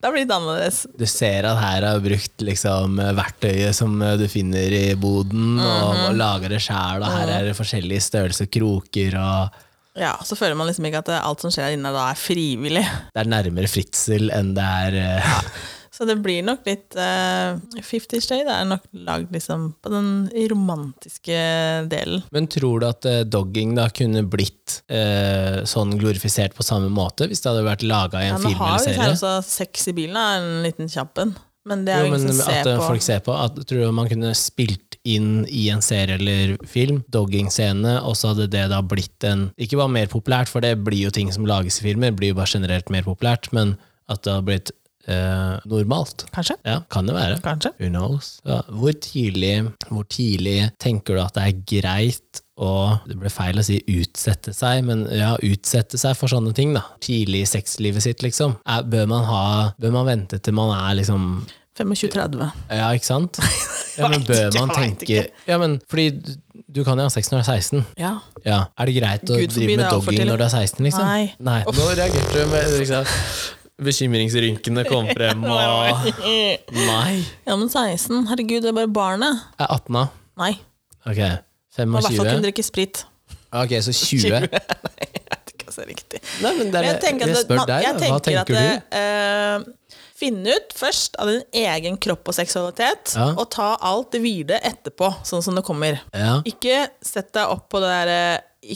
[SPEAKER 2] Da blir det annerledes.
[SPEAKER 1] Du ser at her har jeg brukt liksom, verktøyet som eh, du finner i boden,
[SPEAKER 2] Mhm.
[SPEAKER 1] og, og lager det sjæl. Og her er det forskjellige størrelser kroker, og
[SPEAKER 2] Ja, så føler man liksom ikke at eh, alt som skjer her inne da er frivillig.
[SPEAKER 1] det er nærmere fritzel enn det er eh,
[SPEAKER 2] Så det blir nok litt uh, Fifty Shade er nok lagd liksom på den romantiske delen.
[SPEAKER 1] Men tror du at eh, dogging da kunne blitt eh, sånn glorifisert på samme måte hvis det hadde vært laga i
[SPEAKER 2] Ja,
[SPEAKER 1] en
[SPEAKER 2] nå
[SPEAKER 1] film
[SPEAKER 2] har
[SPEAKER 1] eller
[SPEAKER 2] vi
[SPEAKER 1] serie?
[SPEAKER 2] her også sex i bilen, da, en liten kjapp en. Men det er
[SPEAKER 1] Jo,
[SPEAKER 2] jo
[SPEAKER 1] men
[SPEAKER 2] ingen som
[SPEAKER 1] at
[SPEAKER 2] ser
[SPEAKER 1] eh,
[SPEAKER 2] på.
[SPEAKER 1] folk ser på. At, tror du man kunne spilt inn i en serie eller film, dogging-scene, og så hadde det da blitt en Ikke bare mer populært, for det blir jo ting som lages i filmer, blir jo bare generelt mer populært, men at det hadde blitt eh, normalt.
[SPEAKER 2] Kanskje?
[SPEAKER 1] Ja, kan det være.
[SPEAKER 2] Kanskje?
[SPEAKER 1] Who knows? Ja, hvor, tidlig, hvor tidlig tenker du at det er greit å Det ble feil å si utsette seg, men ja, utsette seg for sånne ting, da. Tidlig i sexlivet sitt, liksom. Er, bør, man ha, bør man vente til man er liksom
[SPEAKER 2] 25-30.
[SPEAKER 1] ja, ikke sant? Ja, men
[SPEAKER 2] vet
[SPEAKER 1] bør
[SPEAKER 2] ikke,
[SPEAKER 1] man
[SPEAKER 2] jeg vet
[SPEAKER 1] tenke Ja, men fordi du- du kan jo ha sex når du er 16.
[SPEAKER 2] Ja.
[SPEAKER 1] Ja. Er det greit å
[SPEAKER 2] Gud forby,
[SPEAKER 1] drive
[SPEAKER 2] det
[SPEAKER 1] med
[SPEAKER 2] er altfor
[SPEAKER 1] dogging
[SPEAKER 2] tidlig.
[SPEAKER 1] når du er 16, liksom?
[SPEAKER 2] Nei.
[SPEAKER 1] Nå reagerte du med liksom, Bekymringsrynkene kom frem, og
[SPEAKER 2] ja,
[SPEAKER 1] Nei.
[SPEAKER 2] men 16. Herregud, det er bare barnet.
[SPEAKER 1] Jeg er 18, da.
[SPEAKER 2] Nei.
[SPEAKER 1] Ok.
[SPEAKER 2] Og i hvert fall kunne
[SPEAKER 1] 25.
[SPEAKER 2] drikke sprit.
[SPEAKER 1] Ok, så 20.
[SPEAKER 2] Jeg vet ikke hva som er riktig.
[SPEAKER 1] Nei, men det
[SPEAKER 2] Men
[SPEAKER 1] er,
[SPEAKER 2] jeg tenker at
[SPEAKER 1] jeg
[SPEAKER 2] det-
[SPEAKER 1] spør
[SPEAKER 2] man-
[SPEAKER 1] deg,
[SPEAKER 2] jeg
[SPEAKER 1] da. Hva
[SPEAKER 2] tenker
[SPEAKER 1] tenker du?
[SPEAKER 2] at det, eh, Finne ut først av din egen kropp og seksualitet,
[SPEAKER 1] Ja.
[SPEAKER 2] og ta alt det videre etterpå, sånn som det kommer.
[SPEAKER 1] Ja.
[SPEAKER 2] Ikke sett deg opp på det derre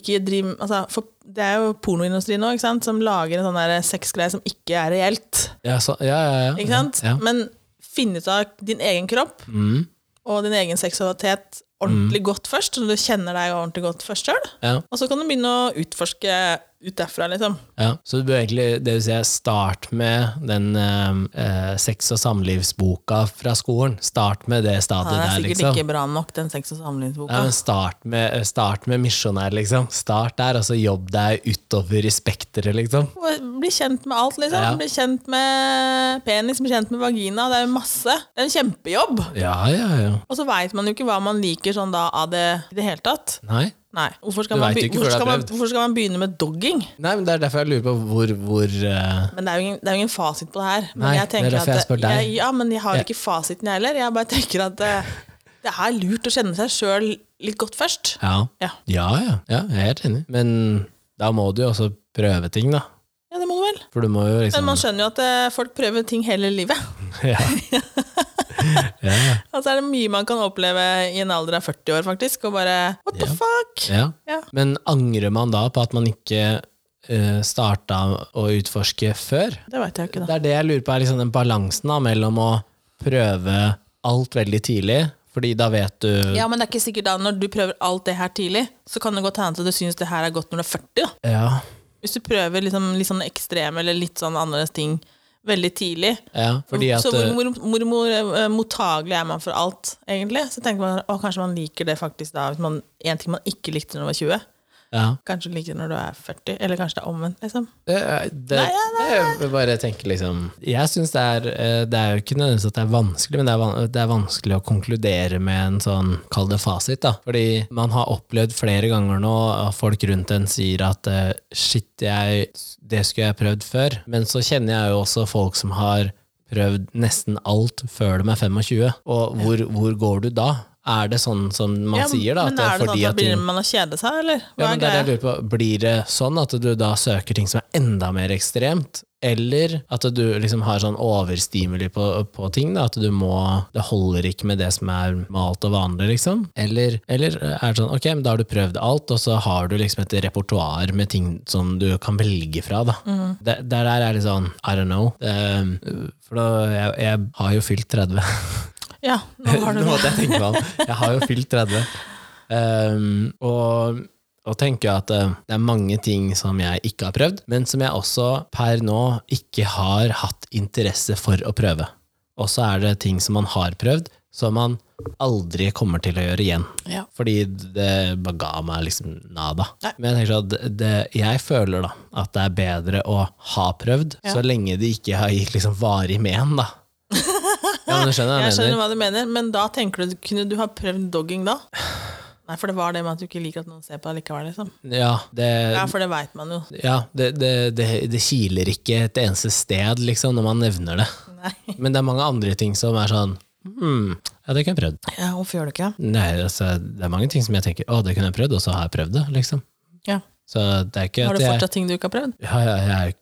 [SPEAKER 2] ikke driv, altså, for Det er jo pornoindustrien nå, ikke sant, som lager en sånn der sexgreie som ikke er reelt.
[SPEAKER 1] Ja, så, ja, ja, ja.
[SPEAKER 2] Ikke sant?
[SPEAKER 1] Ja.
[SPEAKER 2] Men finn ut av din egen kropp
[SPEAKER 1] Mm,
[SPEAKER 2] og din egen seksualitet ordentlig godt først, så du kjenner deg ordentlig godt først sjøl.
[SPEAKER 1] ja.
[SPEAKER 2] Og så kan du begynne å utforske ut derfra, liksom.
[SPEAKER 1] Ja, så du bør egentlig det vil si, start med den eh, eh, sex- og samlivsboka fra skolen. Start med det stadiet
[SPEAKER 2] Ja, det er
[SPEAKER 1] der,
[SPEAKER 2] sikkert
[SPEAKER 1] liksom.
[SPEAKER 2] ikke bra nok, den sex- og samlivsboka.
[SPEAKER 1] Nei, men start med, eh, start med misjonær, liksom. Start der, og så jobb deg utover i spekteret, liksom.
[SPEAKER 2] Og Bli kjent med alt, liksom.
[SPEAKER 1] Ja.
[SPEAKER 2] Bli kjent med penis, bli kjent med vagina. Det er jo masse. Det er en kjempejobb.
[SPEAKER 1] Ja, ja, ja.
[SPEAKER 2] Og så veit man jo ikke hva man liker sånn da av det i det hele tatt.
[SPEAKER 1] Nei.
[SPEAKER 2] Nei. Hvorfor skal,
[SPEAKER 1] Du
[SPEAKER 2] man,
[SPEAKER 1] vet jo
[SPEAKER 2] be-
[SPEAKER 1] ikke før det er
[SPEAKER 2] hvorfor, skal man,
[SPEAKER 1] prøvd.
[SPEAKER 2] hvorfor skal man begynne med dogging?
[SPEAKER 1] Nei, men det er derfor jeg lurer på hvor, hvor eh,
[SPEAKER 2] Men det er jo ingen, det er jo ingen fasit på det her. Men
[SPEAKER 1] Nei,
[SPEAKER 2] jeg tenker
[SPEAKER 1] det er derfor
[SPEAKER 2] at
[SPEAKER 1] jeg spør deg.
[SPEAKER 2] Jeg, ja, men jeg har
[SPEAKER 1] Ja.
[SPEAKER 2] jo ikke fasiten, jeg heller. Jeg bare tenker at eh, det er lurt å kjenne seg sjøl litt godt først.
[SPEAKER 1] ja.
[SPEAKER 2] Ja.
[SPEAKER 1] ja, ja. Ja, jeg er helt enig. Men da må du jo også prøve ting, da.
[SPEAKER 2] ja, det må du vel.
[SPEAKER 1] For du må jo
[SPEAKER 2] Men
[SPEAKER 1] liksom
[SPEAKER 2] man skjønner jo at eh, folk prøver ting hele livet.
[SPEAKER 1] ja. Ja,
[SPEAKER 2] Og så Altså, er det mye man kan oppleve i en alder av 40 år, faktisk, og bare what the
[SPEAKER 1] Ja.
[SPEAKER 2] fuck?
[SPEAKER 1] liksom, ja.
[SPEAKER 2] Ja.
[SPEAKER 1] Men angrer man da på at man ikke eh, starta å utforske før?
[SPEAKER 2] Det veit jeg jo ikke,
[SPEAKER 1] Det
[SPEAKER 2] da.
[SPEAKER 1] er det jeg lurer på, er liksom den balansen da, mellom å prøve alt veldig tidlig, fordi da vet du
[SPEAKER 2] Ja, men det er ikke sikkert da når du prøver alt det her tidlig, så kan det godt hende at du syns det her er godt når du er 40. da.
[SPEAKER 1] Ja,
[SPEAKER 2] Hvis du prøver liksom, litt sånn ekstreme eller litt sånn annerledes ting veldig tidlig,
[SPEAKER 1] ja fordi at
[SPEAKER 2] så hvor,
[SPEAKER 1] eh,
[SPEAKER 2] hvor, hvor, hvor eh, mottagelig er man for alt, egentlig? Så tenker man å, kanskje man liker det faktisk da, hvis man, en ting man ikke likte når man var 20.
[SPEAKER 1] ja.
[SPEAKER 2] Kanskje du liker det når du er 40, eller kanskje det er omvendt, liksom.
[SPEAKER 1] Det, det,
[SPEAKER 2] Nei,
[SPEAKER 1] det er bare tenker liksom Jeg syns det er eh, Det er jo ikke nødvendigvis at det er vanskelig, men det er, van- det er vanskelig å konkludere med en sånn Kall det fasit, da. Fordi man har opplevd flere ganger nå at folk rundt en sier at eh, shit, jeg, det skulle jeg prøvd før. Men så kjenner jeg jo også folk som har prøvd nesten alt før de er 25. Og hvor, hvor går du da? Er det sånn som man
[SPEAKER 2] Ja,
[SPEAKER 1] sier, da?
[SPEAKER 2] men er det sånn at da
[SPEAKER 1] ting-
[SPEAKER 2] begynner man å kjede seg, eller?
[SPEAKER 1] ja,
[SPEAKER 2] Hva
[SPEAKER 1] men det
[SPEAKER 2] er
[SPEAKER 1] er
[SPEAKER 2] greia?
[SPEAKER 1] det jeg lurer på. Blir det sånn at du da søker ting som er enda mer ekstremt? Eller at du liksom har sånn overstimuli på, på ting, da, at du må Det holder ikke med det som er malt og vanlig, liksom? Eller, eller er det sånn ok, men da har du prøvd alt, og så har du liksom et repertoar med ting som du kan velge fra, da.
[SPEAKER 2] Mm.
[SPEAKER 1] Det, det der er litt sånn I don't know. Det, for da, jeg, jeg har jo fylt 30.
[SPEAKER 2] Ja, nå har
[SPEAKER 1] Nå
[SPEAKER 2] du det.
[SPEAKER 1] måtte jeg tenke meg om. Jeg har jo fylt 30. Ehm, og, og tenker jo at eh, det er mange ting som jeg ikke har prøvd, men som jeg også per nå ikke har hatt interesse for å prøve. Og så er det ting som man har prøvd, som man aldri kommer til å gjøre igjen.
[SPEAKER 2] Ja.
[SPEAKER 1] Fordi det bare ga meg liksom nada.
[SPEAKER 2] Nei.
[SPEAKER 1] Men jeg tenker sånn at det, jeg føler da at det er bedre å ha prøvd,
[SPEAKER 2] Ja.
[SPEAKER 1] så lenge det ikke har gitt liksom varig men, da. Ja, men du skjønner hva
[SPEAKER 2] Jeg
[SPEAKER 1] jeg mener.
[SPEAKER 2] skjønner hva du mener, men da tenker du, kunne du ha prøvd dogging da? Nei, for det var det med at du ikke liker at noen ser på deg likevel, liksom.
[SPEAKER 1] Ja, det,
[SPEAKER 2] Ja, for det veit man jo.
[SPEAKER 1] ja det, det, det, det kiler ikke et eneste sted liksom, når man nevner det.
[SPEAKER 2] Nei.
[SPEAKER 1] Men det er mange andre ting som er sånn hmm, Ja, det kunne jeg prøvd.
[SPEAKER 2] Ja, hvorfor gjør du ikke det?
[SPEAKER 1] Nei, altså, det er mange ting som jeg tenker å, det kunne jeg prøvd, og så har jeg prøvd det. liksom.
[SPEAKER 2] Ja.
[SPEAKER 1] Så det er ikke
[SPEAKER 2] Har
[SPEAKER 1] at
[SPEAKER 2] du
[SPEAKER 1] jeg
[SPEAKER 2] fortsatt ting du ikke har prøvd?
[SPEAKER 1] ja, ja, jeg er jo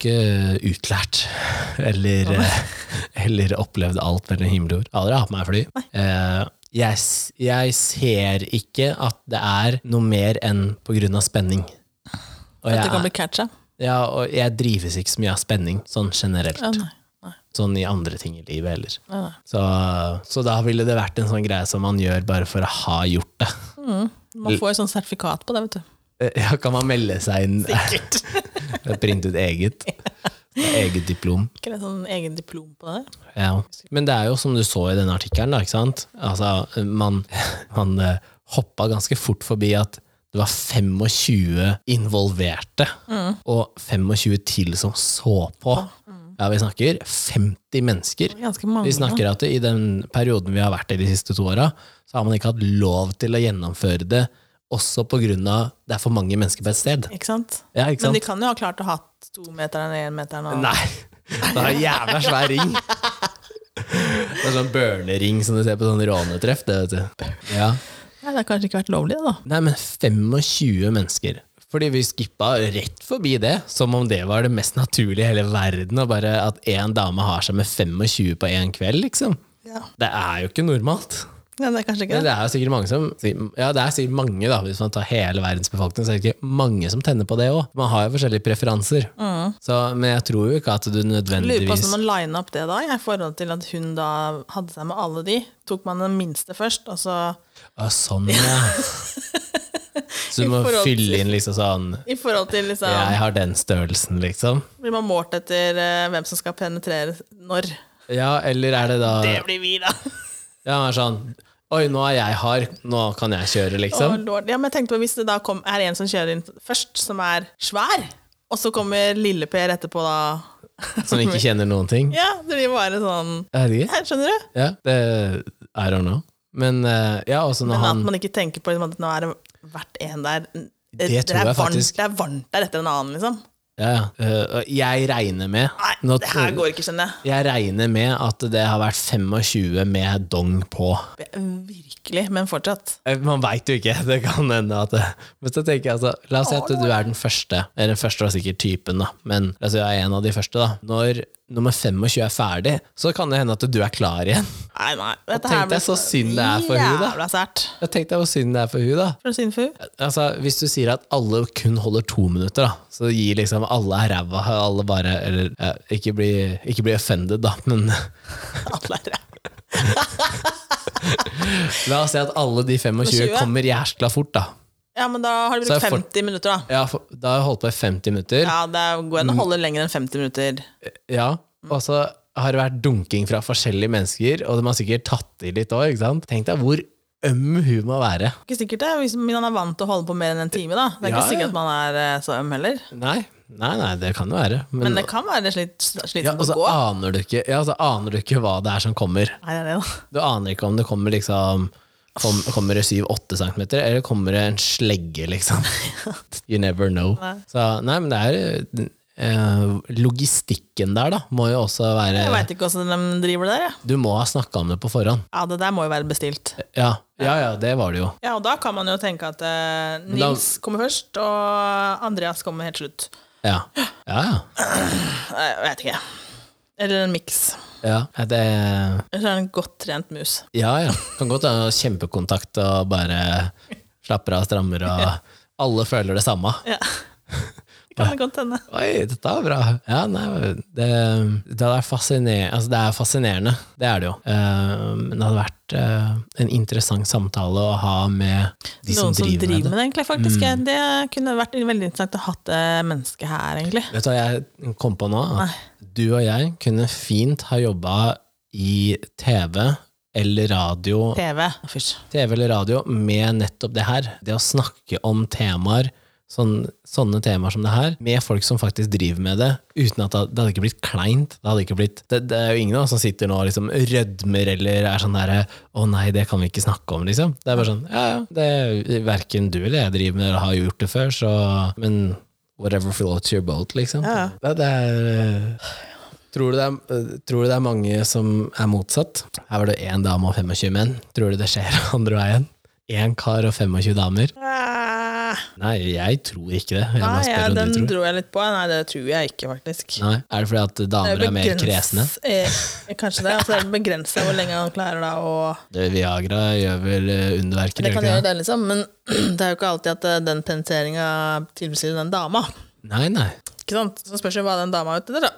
[SPEAKER 1] ikke utlært eller, eller opplevd alt mellom himmel og jord. Aldri hatt meg fly. Eh, Jeg, s- jeg ser ikke at det er noe mer enn på grunn av spenning. Og
[SPEAKER 2] At
[SPEAKER 1] jeg
[SPEAKER 2] det
[SPEAKER 1] er-
[SPEAKER 2] kan bli catcha?
[SPEAKER 1] Ja, og jeg drives ikke så mye av spenning, sånn generelt.
[SPEAKER 2] Ja, nei. Nei,
[SPEAKER 1] Sånn i andre ting i livet heller.
[SPEAKER 2] nei, nei.
[SPEAKER 1] Så, så da ville det vært en sånn greie som man gjør bare for å ha gjort det.
[SPEAKER 2] Man får jo sånn sertifikat på det, vet du.
[SPEAKER 1] Eh, Ja, kan man melde seg inn? Sikkert. Printe ut eget. Eget diplom.
[SPEAKER 2] Ikke det sånn egen diplom på det?
[SPEAKER 1] Ja. Men det er jo som du så i denne artikkelen, da, ikke sant? Altså, man, man eh, hoppa ganske fort forbi at det var 25 involverte, og 25 til som så på. Ja, vi snakker 50 mennesker.
[SPEAKER 2] Ganske mange.
[SPEAKER 1] Vi snakker at i den perioden vi har vært i de siste to åra, så har man ikke hatt lov til å gjennomføre det, også på grunn av det er for mange mennesker på et sted.
[SPEAKER 2] Ikke sant?
[SPEAKER 1] Ja, ikke
[SPEAKER 2] Men
[SPEAKER 1] sant?
[SPEAKER 2] de kan jo ha klart å ha tometeren og énmeteren og
[SPEAKER 1] Nei. Det er en jævla svær ring. Det er sånn børnering som du ser på sånn rånetreff. Det, vet du. Ja.
[SPEAKER 2] Nei, det har kanskje ikke vært lovlig, da.
[SPEAKER 1] Nei, men 25 mennesker. Fordi vi skippa rett forbi det, som om det var det mest naturlige i hele verden. Og bare at én dame har seg med 25 på én kveld, liksom.
[SPEAKER 2] Ja.
[SPEAKER 1] Det er jo ikke normalt.
[SPEAKER 2] Nei, det er kanskje ikke
[SPEAKER 1] Men
[SPEAKER 2] det.
[SPEAKER 1] det er jo sikkert mange som Ja, det er sikkert mange, da, hvis man tar hele verdens befolkning, så er det ikke mange som tenner på det òg. Man har jo forskjellige preferanser. Så, men jeg tror jo ikke at du
[SPEAKER 2] Mm. Lurer på
[SPEAKER 1] nødvendigvis
[SPEAKER 2] hvordan man lina opp det da, i forhold til at hun da hadde seg med alle de. Tok man den minste først, og så
[SPEAKER 1] Ja, sånn, ja. Så
[SPEAKER 2] I
[SPEAKER 1] du må
[SPEAKER 2] forhold til-
[SPEAKER 1] fylle inn liksom sånn
[SPEAKER 2] i forhold til liksom
[SPEAKER 1] Jeg har den størrelsen, liksom.
[SPEAKER 2] Blir man målt etter eh, hvem som skal penetrere når?
[SPEAKER 1] Ja, eller er det da
[SPEAKER 2] Det blir vi, da!
[SPEAKER 1] Ja, er sånn Oi, nå er jeg hard. Nå kan jeg kjøre,
[SPEAKER 2] Å,
[SPEAKER 1] liksom.
[SPEAKER 2] lord. Ja, men jeg tenkte på Hvis det da kom, er en som kjører inn først, som er svær, og så kommer Lille-Per etterpå, da
[SPEAKER 1] Som ikke kjenner noen ting.
[SPEAKER 2] Ja, det blir bare sånn
[SPEAKER 1] Jeg vet ikke.
[SPEAKER 2] Her, Skjønner du?
[SPEAKER 1] Ja, det I don't know. Men eh, ja, også når
[SPEAKER 2] Men
[SPEAKER 1] han
[SPEAKER 2] at man ikke tenker på liksom, at nå er det hvert en der Det,
[SPEAKER 1] tror
[SPEAKER 2] er
[SPEAKER 1] jeg
[SPEAKER 2] varmt,
[SPEAKER 1] faktisk.
[SPEAKER 2] det er varmt der etter en annen, liksom.
[SPEAKER 1] Ja, ja. Eh, og jeg regner med
[SPEAKER 2] Nei,
[SPEAKER 1] Nå-
[SPEAKER 2] det her går ikke, skjønner jeg.
[SPEAKER 1] Jeg regner med at det har vært 25 med dong på.
[SPEAKER 2] Eh, Virkelig, men fortsatt.
[SPEAKER 1] Eh, Man veit jo ikke. Det kan hende at det- Men så tenker jeg altså La oss si at du er den første, eller den første var sikkert typen, da, men la oss si du er en av de første, da. Når nummer 25 er ferdig, så kan det hende at du er klar igjen.
[SPEAKER 2] Nei, nei. Dette
[SPEAKER 1] tenk deg så synd det er for hun, da.
[SPEAKER 2] Jævla sært.
[SPEAKER 1] Jeg tenkte hvor synd det er for hun da.
[SPEAKER 2] For synd for hun.
[SPEAKER 1] Altså, hvis du sier at alle kun holder to minutter, da, så gir liksom alle er ræva, alle bare Eller ja, ikke bli, ikke bli offended, da, men
[SPEAKER 2] Alle er ræva.
[SPEAKER 1] la oss si at alle de 25
[SPEAKER 2] 20?
[SPEAKER 1] kommer jæskla fort, da.
[SPEAKER 2] Ja, men da har du
[SPEAKER 1] Så
[SPEAKER 2] brukt
[SPEAKER 1] jeg får-
[SPEAKER 2] 50 minutter, da.
[SPEAKER 1] Ja, for, da har jeg holdt på i 50 minutter.
[SPEAKER 2] Ja, det er går
[SPEAKER 1] Mm.
[SPEAKER 2] an å holde lenger enn 50 minutter.
[SPEAKER 1] Ja, og så har det vært dunking fra forskjellige mennesker, og de har sikkert tatt i litt òg, ikke sant? Tenk deg hvor øm hun må være.
[SPEAKER 2] Ikke sikkert det, hvis man er vant til å holde på mer enn en time, da. Det er
[SPEAKER 1] Ja,
[SPEAKER 2] ikke sikkert
[SPEAKER 1] ja.
[SPEAKER 2] at man er eh, så øm heller.
[SPEAKER 1] Nei, nei, nei det kan jo være. Men,
[SPEAKER 2] Men det kan være slitt, slitsomt
[SPEAKER 1] ja, altså, ah. og så
[SPEAKER 2] å gå.
[SPEAKER 1] aner du ikke Ja, så aner du ikke hva det er som kommer.
[SPEAKER 2] Nei, det er det, da.
[SPEAKER 1] Du aner ikke om det kommer liksom kom, Kommer det 7-8 cm, eller kommer det en slegge, liksom. You never know.
[SPEAKER 2] Nei.
[SPEAKER 1] Så nei, men det er eh, Logistikken der, da, må jo også
[SPEAKER 2] Jeg
[SPEAKER 1] være
[SPEAKER 2] veit ikke åssen de driver det der, jeg.
[SPEAKER 1] Du må ha snakka om det på forhånd.
[SPEAKER 2] Ja, det der må jo være bestilt.
[SPEAKER 1] Ja, ja, ja det var det jo.
[SPEAKER 2] Ja, og da kan man jo tenke at
[SPEAKER 1] da-
[SPEAKER 2] eh, Nils kommer først, og Andreas kommer helt slutt.
[SPEAKER 1] Ja, ja. ja.
[SPEAKER 2] Nei, Jeg vet ikke. Eller en miks.
[SPEAKER 1] Ja, ja, det,
[SPEAKER 2] Eller så er det en godt trent mus.
[SPEAKER 1] ja, ja. Kan godt ha kjempekontakt og bare slapper av, strammer og Alle føler det samme.
[SPEAKER 2] Ja. Det kan det godt hende.
[SPEAKER 1] Oi, dette er bra! Ja, nei, det, det, er fasciner, altså det er fascinerende, det er det jo. Eh, Men det hadde vært eh, en interessant samtale å ha med de som
[SPEAKER 2] Noen
[SPEAKER 1] driver,
[SPEAKER 2] som
[SPEAKER 1] med det. Mm.
[SPEAKER 2] med det, egentlig. faktisk. Det kunne vært veldig interessant å ha hatt det mennesket her, egentlig.
[SPEAKER 1] Vet du hva jeg kom på nå? At du og jeg kunne fint ha jobba i TV eller radio
[SPEAKER 2] TV. Fysj.
[SPEAKER 1] TV eller radio med nettopp det her. Det å snakke om temaer, sånn, sånne temaer som det her, med folk som faktisk driver med det, uten at det, det hadde ikke blitt kleint. Det, hadde ikke blitt, det, det er jo ingen av oss som sitter nå og liksom rødmer eller er sånn derre 'Å nei, det kan vi ikke snakke om', liksom. Det er bare sånn Ja, ja. Det er verken du eller jeg driver med det, eller har gjort det før, så Men whatever floats your boat, liksom.
[SPEAKER 2] Ja.
[SPEAKER 1] Det, det er øh, Tror du, det er, øh, tror du det er mange som er motsatt? Her var det én dame og 25 menn. Tror du det skjer andre veien? Én kar og 25 damer? Nei, jeg tror ikke det. Jeg må
[SPEAKER 2] Nei, ja,
[SPEAKER 1] spørre om
[SPEAKER 2] den
[SPEAKER 1] du tror.
[SPEAKER 2] dro jeg litt på. Nei, det tror jeg ikke, faktisk.
[SPEAKER 1] Nei, Er det fordi at damer er mer kresne?
[SPEAKER 2] eh, kanskje det. Altså, det er begrenset hvor lenge han klarer da å
[SPEAKER 1] Det Viagra gjør vel øh, underverker?
[SPEAKER 2] Det
[SPEAKER 1] gjør
[SPEAKER 2] kan
[SPEAKER 1] ikke
[SPEAKER 2] gjøre
[SPEAKER 1] det?
[SPEAKER 2] det, liksom, men det er jo ikke alltid at eh, den penseringa tilfredsstiller den dama.
[SPEAKER 1] Nei, nei.
[SPEAKER 2] Ikke sant? Så spørs jo hva den dama er ute etter, da.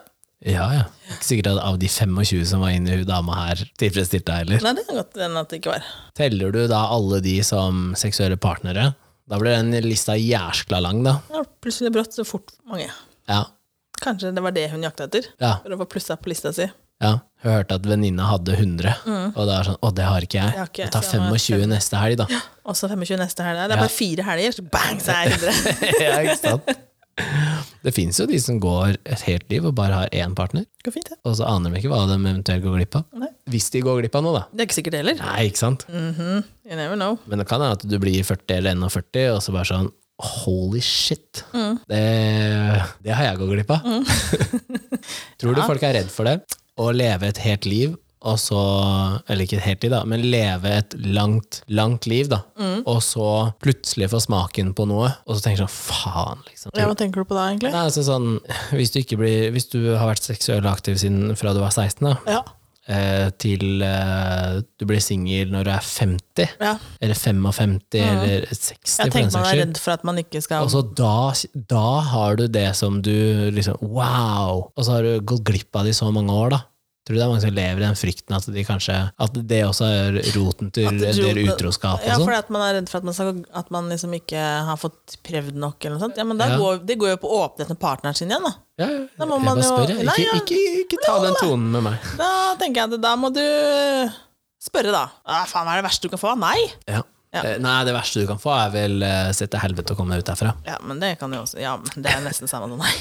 [SPEAKER 1] Ja, ja. Ikke sikkert at av de 25 som var inne i hun dama her, tilfredsstilte deg heller.
[SPEAKER 2] Nei, det kan godt hende at det ikke var.
[SPEAKER 1] Teller du da alle de som seksuelle partnere? Da blir den lista jæskla lang, da.
[SPEAKER 2] Ja, plutselig brått så fort mange.
[SPEAKER 1] Ja.
[SPEAKER 2] Kanskje det var det hun jakta etter?
[SPEAKER 1] ja.
[SPEAKER 2] For å få plussa på lista si.
[SPEAKER 1] Ja, jeg hørte at venninna hadde 100, og da er det sånn, å det har ikke jeg.
[SPEAKER 2] Mm. Det har ikke jeg,
[SPEAKER 1] jeg tar
[SPEAKER 2] så jeg må ha
[SPEAKER 1] 25 neste helg da.
[SPEAKER 2] Og så 25 neste helg. Det er bare fire helger, så bang, så er jeg 100.
[SPEAKER 1] ja, ikke sant? Det finnes jo de som går et helt liv og bare har én partner,
[SPEAKER 2] Det går fint, det.
[SPEAKER 1] og så aner de ikke hva de eventuelt går glipp av.
[SPEAKER 2] Nei.
[SPEAKER 1] Hvis de går glipp av noe da.
[SPEAKER 2] Det er ikke sikkert det heller.
[SPEAKER 1] Nei, ikke sant?
[SPEAKER 2] You never know.
[SPEAKER 1] Men det kan være at du blir 40 eller 41, og så bare sånn, holy shit.
[SPEAKER 2] Mm.
[SPEAKER 1] Det, det har jeg gått glipp av. Tror du folk er redd for det? Å leve et helt liv, og så, eller ikke et helt liv da, men leve et langt, langt liv da,
[SPEAKER 2] Mm.
[SPEAKER 1] og så plutselig få smaken på noe, og så tenker du sånn, faen liksom.
[SPEAKER 2] Ja, Hva tenker du på da, egentlig?
[SPEAKER 1] Nei, altså sånn, hvis du, ikke blir, hvis du har vært seksuelt aktiv siden fra du var 16 da,
[SPEAKER 2] Ja.
[SPEAKER 1] eh, til eh, du blir single når du er 50,
[SPEAKER 2] ja.
[SPEAKER 1] eller 55, eller 60
[SPEAKER 2] Jeg
[SPEAKER 1] for den
[SPEAKER 2] tenker
[SPEAKER 1] saks
[SPEAKER 2] man er
[SPEAKER 1] skyld.
[SPEAKER 2] redd for at man ikke skal
[SPEAKER 1] Og så da, da har du det som du liksom Wow! Og så har du gått glipp av det i så mange år, da. Tror du det er mange som lever i den frykten at, de kanskje, at det også er roten til
[SPEAKER 2] At
[SPEAKER 1] en
[SPEAKER 2] det
[SPEAKER 1] del
[SPEAKER 2] roten-
[SPEAKER 1] utroskap og
[SPEAKER 2] Ja,
[SPEAKER 1] sånn?
[SPEAKER 2] fordi at man er redd for at man, skal, at man liksom ikke har fått prøvd nok. eller noe sånt. Ja, men da
[SPEAKER 1] Ja.
[SPEAKER 2] går, Det går jo på åpenhet med partneren sin igjen, da.
[SPEAKER 1] Ja, ja.
[SPEAKER 2] Da
[SPEAKER 1] Jeg
[SPEAKER 2] må
[SPEAKER 1] bare
[SPEAKER 2] man jo-
[SPEAKER 1] spør, jeg.
[SPEAKER 2] Nei,
[SPEAKER 1] Ikke,
[SPEAKER 2] ja.
[SPEAKER 1] ikke, ikke ta den tonen med meg.
[SPEAKER 2] Da tenker jeg at da må du spørre, da. Ah, faen, hva er det verste du kan få? Nei!
[SPEAKER 1] Ja.
[SPEAKER 2] Ja.
[SPEAKER 1] Eh, Nei, det verste du kan få, er vel eh, se til helvete å komme deg ut derfra.
[SPEAKER 2] Ja, men det kan jo også Ja, men det er nesten samme som nei.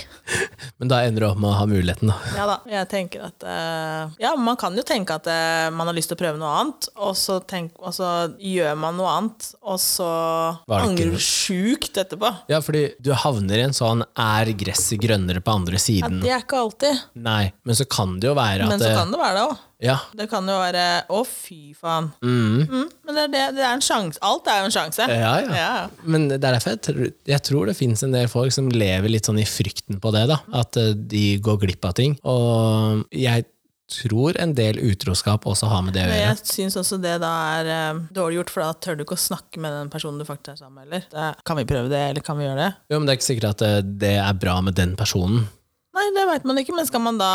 [SPEAKER 1] Men da ender du opp med å ha muligheten, da.
[SPEAKER 2] Ja da. Jeg tenker at eh, Ja, man kan jo tenke at eh, man har lyst til å prøve noe annet, og så, tenk, og så gjør man noe annet, og så
[SPEAKER 1] Var det ikke
[SPEAKER 2] angrer du sjukt etterpå.
[SPEAKER 1] Ja, fordi du havner i en sånn er gresset grønnere på andre
[SPEAKER 2] Ja,
[SPEAKER 1] siden?
[SPEAKER 2] det er ikke alltid,
[SPEAKER 1] Nei, men så kan det jo være at
[SPEAKER 2] men så
[SPEAKER 1] eh,
[SPEAKER 2] kan det være det òg.
[SPEAKER 1] Ja.
[SPEAKER 2] Det kan jo være Å, fy faen.
[SPEAKER 1] Mm.
[SPEAKER 2] Mm, men det er, det, det er en sjanse. Alt er jo en sjanse.
[SPEAKER 1] Ja, ja.
[SPEAKER 2] Ja.
[SPEAKER 1] Men det er derfor jeg tror, jeg tror det finnes en del folk som lever litt sånn i frykten på det, da. At eh, de går glipp av ting. Og jeg tror en del utroskap også har med det å
[SPEAKER 2] Men
[SPEAKER 1] gjøre.
[SPEAKER 2] jeg syns også det da er eh, dårlig gjort, for da tør du ikke å snakke med den personen du faktisk er sammen med heller. Det er, Kan vi prøve det, eller kan vi gjøre det?
[SPEAKER 1] Jo, men det er ikke sikkert at eh, det er bra med den personen.
[SPEAKER 2] Nei, det veit man ikke, men skal man da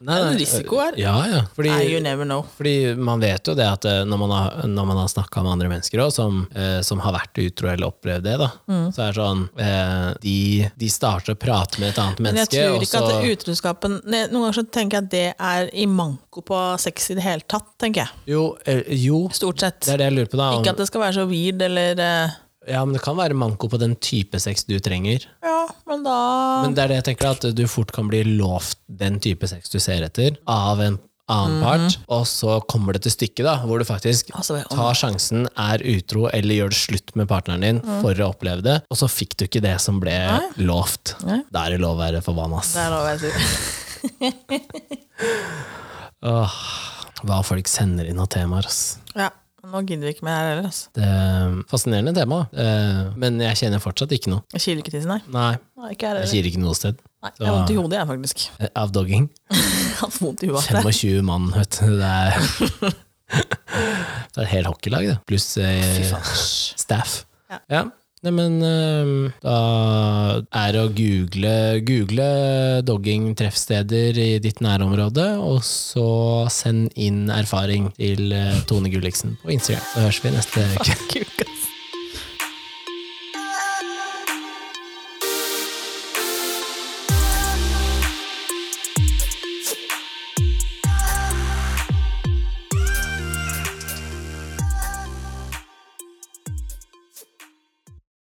[SPEAKER 1] Nei,
[SPEAKER 2] Det er en
[SPEAKER 1] nei,
[SPEAKER 2] risiko her.
[SPEAKER 1] Ja, ja. Fordi,
[SPEAKER 2] Nei, you never know.
[SPEAKER 1] fordi man vet jo det at eh, når man har, når man har snakka med andre mennesker også, som, eh, som har vært utro eller opplevd det, da,
[SPEAKER 2] Mm.
[SPEAKER 1] så er det sånn eh, de, de starter å prate med et annet
[SPEAKER 2] Men jeg
[SPEAKER 1] menneske,
[SPEAKER 2] tror
[SPEAKER 1] og
[SPEAKER 2] ikke
[SPEAKER 1] så
[SPEAKER 2] at utroskapen ne- Noen ganger så tenker jeg at det er i manko på sex i det hele tatt, tenker jeg.
[SPEAKER 1] jo, eh, jo,
[SPEAKER 2] Stort sett.
[SPEAKER 1] det er det jeg lurer på, da. om-
[SPEAKER 2] Ikke at det skal være så weird, eller eh,
[SPEAKER 1] Ja, men det kan være manko på den type sex du trenger.
[SPEAKER 2] Ja, men da
[SPEAKER 1] Men det er det jeg tenker, at du fort kan bli lovt den type sex du ser etter, av en annen
[SPEAKER 2] Mhm.
[SPEAKER 1] part, og så kommer det til stykket, da, hvor du faktisk
[SPEAKER 2] Altså, om-
[SPEAKER 1] tar sjansen, er utro eller gjør det slutt med partneren din for å oppleve det, og så fikk du ikke det som ble lovt.
[SPEAKER 2] Mhm. Nei.
[SPEAKER 1] Da er det lov å være forbanna, ass.
[SPEAKER 2] Det er lov å si.
[SPEAKER 1] Åh, hva folk sender inn av temaer, ass.
[SPEAKER 2] Ja. Nå gidder vi ikke mer her heller, altså.
[SPEAKER 1] Det er fascinerende tema, eh, men jeg kjenner fortsatt ikke noe.
[SPEAKER 2] Jeg kiler ikke tissen, nei.
[SPEAKER 1] Nei,
[SPEAKER 2] Nei, ikke her
[SPEAKER 1] jeg
[SPEAKER 2] heller.
[SPEAKER 1] kiler ikke noe sted.
[SPEAKER 2] Nei, jeg har vondt i hodet, jeg, faktisk.
[SPEAKER 1] Eh, Avdogging.
[SPEAKER 2] Jeg har hatt vondt i hodet.
[SPEAKER 1] 25 mann, vet du. Det er, det er et helt hockeylag, det. Pluss
[SPEAKER 2] Fy
[SPEAKER 1] eh,
[SPEAKER 2] faen.
[SPEAKER 1] staff.
[SPEAKER 2] Ja.
[SPEAKER 1] Ja. Nei, men eh, da er det å google, google dogging-treffsteder i ditt nærområde, og så send inn erfaring til eh, Tone Gulliksen på Instagram. Så høres vi neste uke.
[SPEAKER 2] Kult.